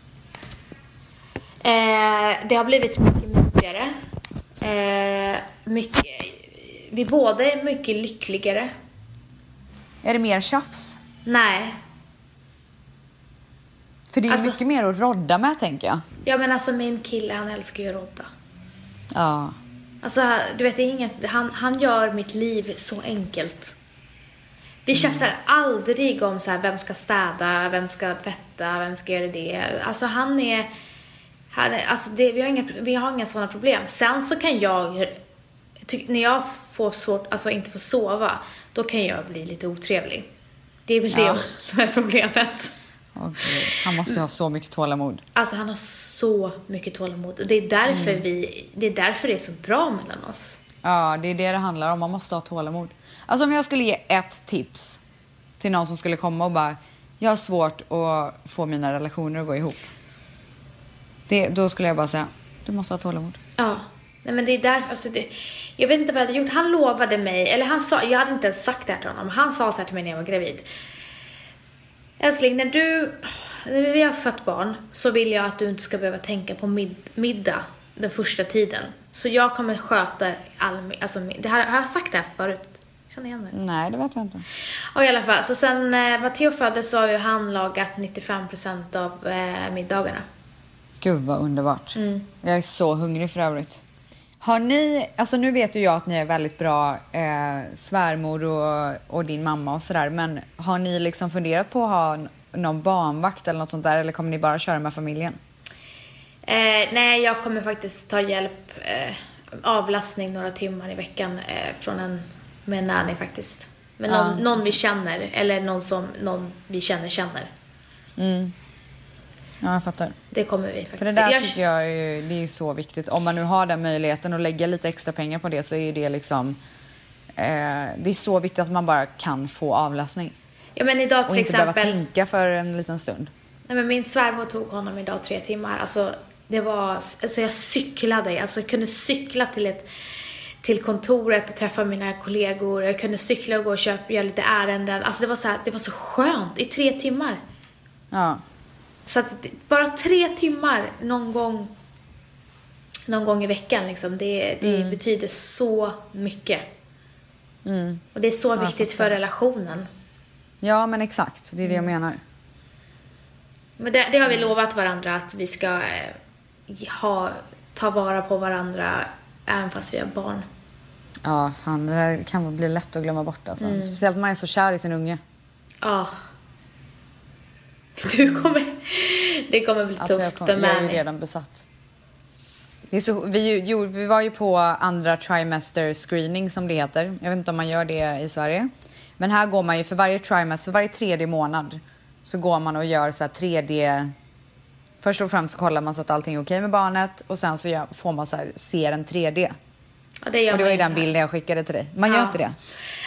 Speaker 2: Eh, det har blivit mycket mysigare. Eh, mycket, vi båda är mycket lyckligare.
Speaker 1: Är det mer tjafs?
Speaker 2: Nej.
Speaker 1: För det är ju
Speaker 2: Alltså-
Speaker 1: mycket mer att rodda med tänker jag.
Speaker 2: Ja men alltså min kille han älskar ju att rodda.
Speaker 1: Ja.
Speaker 2: Alltså du vet det är inget, han, han gör mitt liv så enkelt. Vi tjafsar aldrig om så här, vem ska städa, vem ska tvätta, vem ska göra det. Alltså han är, han är alltså det, vi, har inga, vi har inga sådana problem. Sen så kan jag, ty, när jag får svårt, alltså inte får sova, då kan jag bli lite otrevlig. Det är väl
Speaker 1: Ja.
Speaker 2: det som är problemet.
Speaker 1: Åh, gud. Han måste ju ha så mycket tålamod.
Speaker 2: Alltså han har så mycket tålamod och det är därför vi, det är därför det är så bra mellan oss.
Speaker 1: Ja, det är det det handlar om. Man måste ha tålamod. Alltså om jag skulle ge ett tips till någon som skulle komma och bara, jag har svårt att få mina relationer att gå ihop. Det, då skulle jag bara säga, du måste ha tålamod.
Speaker 2: Ja. Nej men det är därför, alltså det, Jag vet inte vad jag hade gjort. Han lovade mig, eller han sa, jag hade inte ens sagt det här till honom. Han sa så här till mig när jag var gravid. Älskling, när du, när vi har fött barn så vill jag att du inte ska behöva tänka på mid, middag den första tiden. Så jag kommer sköta all, mi- alltså, mi- det här, har jag sagt det här förut? Känner igen det?
Speaker 1: Nej, det vet jag inte.
Speaker 2: Och i alla fall, så sen eh, Matteo föddes så har ju han lagat 95% av eh, middagarna.
Speaker 1: Gud vad underbart. Jag är så hungrig för övrigt. Har ni, alltså nu vet ju jag att ni är väldigt bra eh, svärmor och, och din mamma och sådär men har ni liksom funderat på att ha n- någon barnvakt eller något sånt där eller kommer ni bara köra med familjen?
Speaker 2: Eh, nej, jag kommer faktiskt ta hjälp, eh, avlastning några timmar i veckan eh, från en, med en nanny faktiskt. Men någon, någon vi känner, eller någon som någon vi känner känner.
Speaker 1: Mm. Ja, jag fattar.
Speaker 2: Det kommer vi faktiskt.
Speaker 1: För det där
Speaker 2: jag,
Speaker 1: tycker jag är ju, det är ju så viktigt. Om man nu har den möjligheten att lägga lite extra pengar på det så är ju det liksom eh, det är så viktigt att man bara kan få avlastning
Speaker 2: Ja, men idag
Speaker 1: och
Speaker 2: till
Speaker 1: inte behöva
Speaker 2: exempel.
Speaker 1: tänka för en liten stund.
Speaker 2: Nej, men min svärmor tog honom idag tre timmar. Alltså, det var, alltså jag cyklade. Alltså, jag kunde cykla till, ett, till kontoret och träffa mina kollegor. Jag kunde cykla och gå och köpa, göra lite ärenden. Alltså, det, var så här, det var så skönt i tre timmar.
Speaker 1: Ja.
Speaker 2: Så att det- bara tre timmar någon gång, någon gång i veckan, liksom, det, det
Speaker 1: Mm.
Speaker 2: betyder så mycket.
Speaker 1: Mm.
Speaker 2: Och det är så viktigt för relationen.
Speaker 1: Ja, men exakt. Det är det jag
Speaker 2: Mm.
Speaker 1: menar.
Speaker 2: Men det, det har vi lovat varandra att vi ska eh, ha, ta vara på varandra även fast vi har barn.
Speaker 1: Ja, fan, det där kan bli lätt att glömma bort. Alltså.
Speaker 2: Mm.
Speaker 1: Speciellt när man är så kär i sin unge.
Speaker 2: Ja. Du kommer... Det kommer bli
Speaker 1: Alltså, jag,
Speaker 2: tufft
Speaker 1: kom,
Speaker 2: för
Speaker 1: jag är ju
Speaker 2: Mani.
Speaker 1: redan besatt. Det är så, vi, jo, vi var ju på andra trimester screening som det heter. Jag vet inte om man gör det i Sverige. Men här går man ju för varje trimester, för varje tredje månad så går man och gör så här 3D... Först och främst så kollar man så att allting är okej med barnet och sen så gör, får man så här, ser en 3D.
Speaker 2: Ja, det gör
Speaker 1: Och det
Speaker 2: man
Speaker 1: var ju
Speaker 2: inte
Speaker 1: den
Speaker 2: här.
Speaker 1: bilden jag skickade till dig. Man gör
Speaker 2: Ja.
Speaker 1: inte det.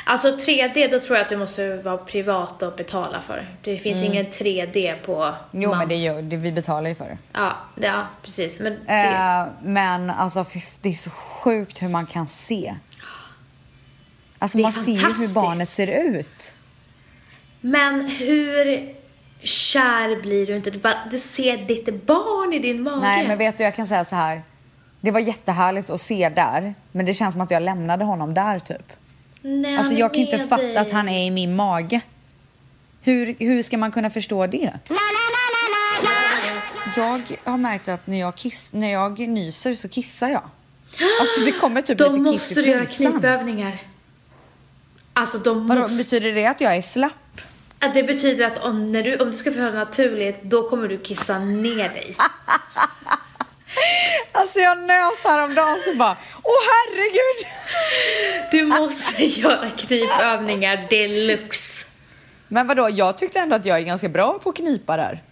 Speaker 2: Alltså 3D, då tror jag att du måste vara privat och betala för. Det finns ingen 3D på...
Speaker 1: Mm. Jo,
Speaker 2: mam-
Speaker 1: men det gör, det, vi betalar ju för det.
Speaker 2: Ja, det, ja precis. Men det...
Speaker 1: Eh, men alltså fy- det är så sjukt hur man kan se. Alltså
Speaker 2: Det är
Speaker 1: man ser ju hur
Speaker 2: fantastiskt.
Speaker 1: barnet ser ut.
Speaker 2: Men hur kär blir du inte? Du, bara, du ser ditt barn i din mage.
Speaker 1: Nej men vet du jag kan säga så här. Det var jättehärligt att se där men det känns som att jag lämnade honom där typ.
Speaker 2: Nej,
Speaker 1: Alltså
Speaker 2: men
Speaker 1: jag kan inte
Speaker 2: med
Speaker 1: fatta
Speaker 2: dig.
Speaker 1: att han är i min mage. Hur, hur ska man kunna förstå det? Jag har märkt att när jag, kiss, när jag nyser så kissar jag. Alltså det kommer typ
Speaker 2: Då
Speaker 1: lite kiss
Speaker 2: måste
Speaker 1: i
Speaker 2: du göra
Speaker 1: trusan.
Speaker 2: knipövningar. Alltså de
Speaker 1: Vadå,
Speaker 2: måste...
Speaker 1: betyder det att jag är slapp?
Speaker 2: Att Det betyder att om, när du, om du ska föda naturligt, då kommer du kissa ner dig.
Speaker 1: Alltså jag nös häromdagen så bara, åh herregud!
Speaker 2: Du måste göra knipövningar deluxe.
Speaker 1: Men vadå, jag tyckte ändå att jag är ganska bra på att knipa där.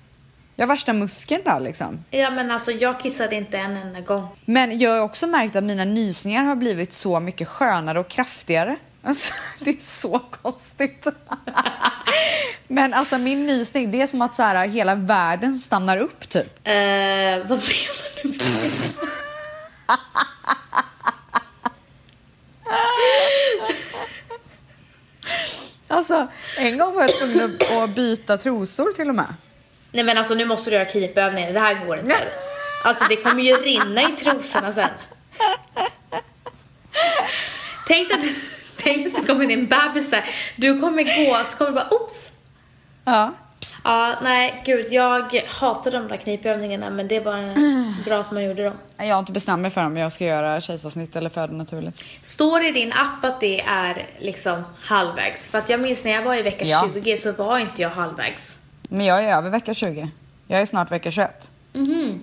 Speaker 1: Jag har värsta muskeln där liksom.
Speaker 2: Ja men alltså jag kissade inte en enda gång.
Speaker 1: Men jag har också märkt att mina nysningar har blivit så mycket skönare och kraftigare. Alltså, det är så konstigt. Men alltså min nysning, det är som att så här, hela världen stannar upp typ.
Speaker 2: Eh, vad menar du med det?
Speaker 1: Alltså en gång var jag tvungen att- att byta trosor till och med.
Speaker 2: Nej men alltså nu måste du göra knipövningar, det här går inte. Alltså det kommer ju rinna i trosorna sen. Tänk dig att, tänk att så kommer din bebis där, du kommer gå så kommer du bara oops.
Speaker 1: Ja.
Speaker 2: Ja, nej gud jag hatar de där knipövningarna men det var eh, bra att man gjorde dem.
Speaker 1: Jag har inte bestämt mig för om jag ska göra kejsarsnitt eller föda naturligt.
Speaker 2: Står det i din app att det är liksom halvvägs? För att jag minns när jag var i vecka
Speaker 1: Ja.
Speaker 2: 20 så var inte jag halvvägs.
Speaker 1: Men jag är över vecka 20. Jag är snart vecka 21.
Speaker 2: Mhm.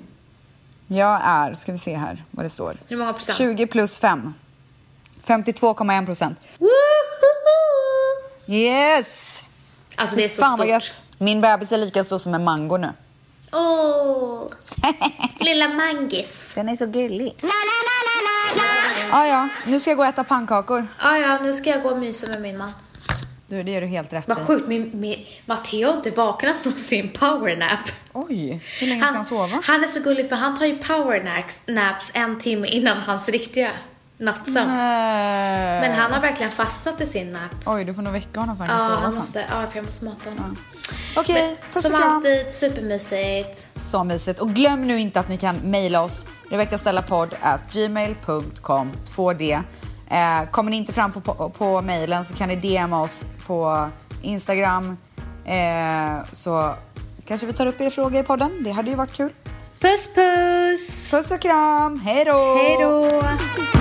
Speaker 1: Jag är, ska vi se här vad det står.
Speaker 2: Hur många procent?
Speaker 1: 20 plus 5. 52,1 procent.
Speaker 2: Woho!
Speaker 1: Yes!
Speaker 2: Alltså det är så
Speaker 1: Fan vad
Speaker 2: stort.
Speaker 1: gött. Min bebis är lika stor som en mango nu.
Speaker 2: Åh! Lilla Mangis.
Speaker 1: Den är så gullig. Ah, ja, nu ska jag gå och äta pannkakor.
Speaker 2: Ah, ja, nu ska jag gå och mysa med min man.
Speaker 1: Du, det gör du helt rätt
Speaker 2: Vad
Speaker 1: i.
Speaker 2: sjukt, min, min, Matteo har inte vaknat från sin powernap.
Speaker 1: Oj, hur länge ska han sova?
Speaker 2: han är så gullig för han tar ju powernaps naps en timme innan hans riktiga. nattsömn.
Speaker 1: Mm. Nej.
Speaker 2: Men han har verkligen fastnat i sin napp.
Speaker 1: Eh. Oj, du får nog väcka honom så han
Speaker 2: Ja,
Speaker 1: kan sova
Speaker 2: han
Speaker 1: sen.
Speaker 2: måste, ja, för jag måste mata honom.
Speaker 1: Okej,
Speaker 2: Men,
Speaker 1: puss och
Speaker 2: som
Speaker 1: kram.
Speaker 2: alltid, supermysigt.
Speaker 1: Så mysigt. Och glöm nu inte att ni kan mejla oss. Rebeckastellapodd at gmail.com 2D. Eh, kommer ni inte fram på, på, på mejlen så kan ni DM oss på Instagram. Eh, så kanske vi tar upp er fråga i podden. Det hade ju varit kul.
Speaker 2: Puss puss!
Speaker 1: Puss och kram. Hej då!
Speaker 2: Hej då!
Speaker 3: Bye.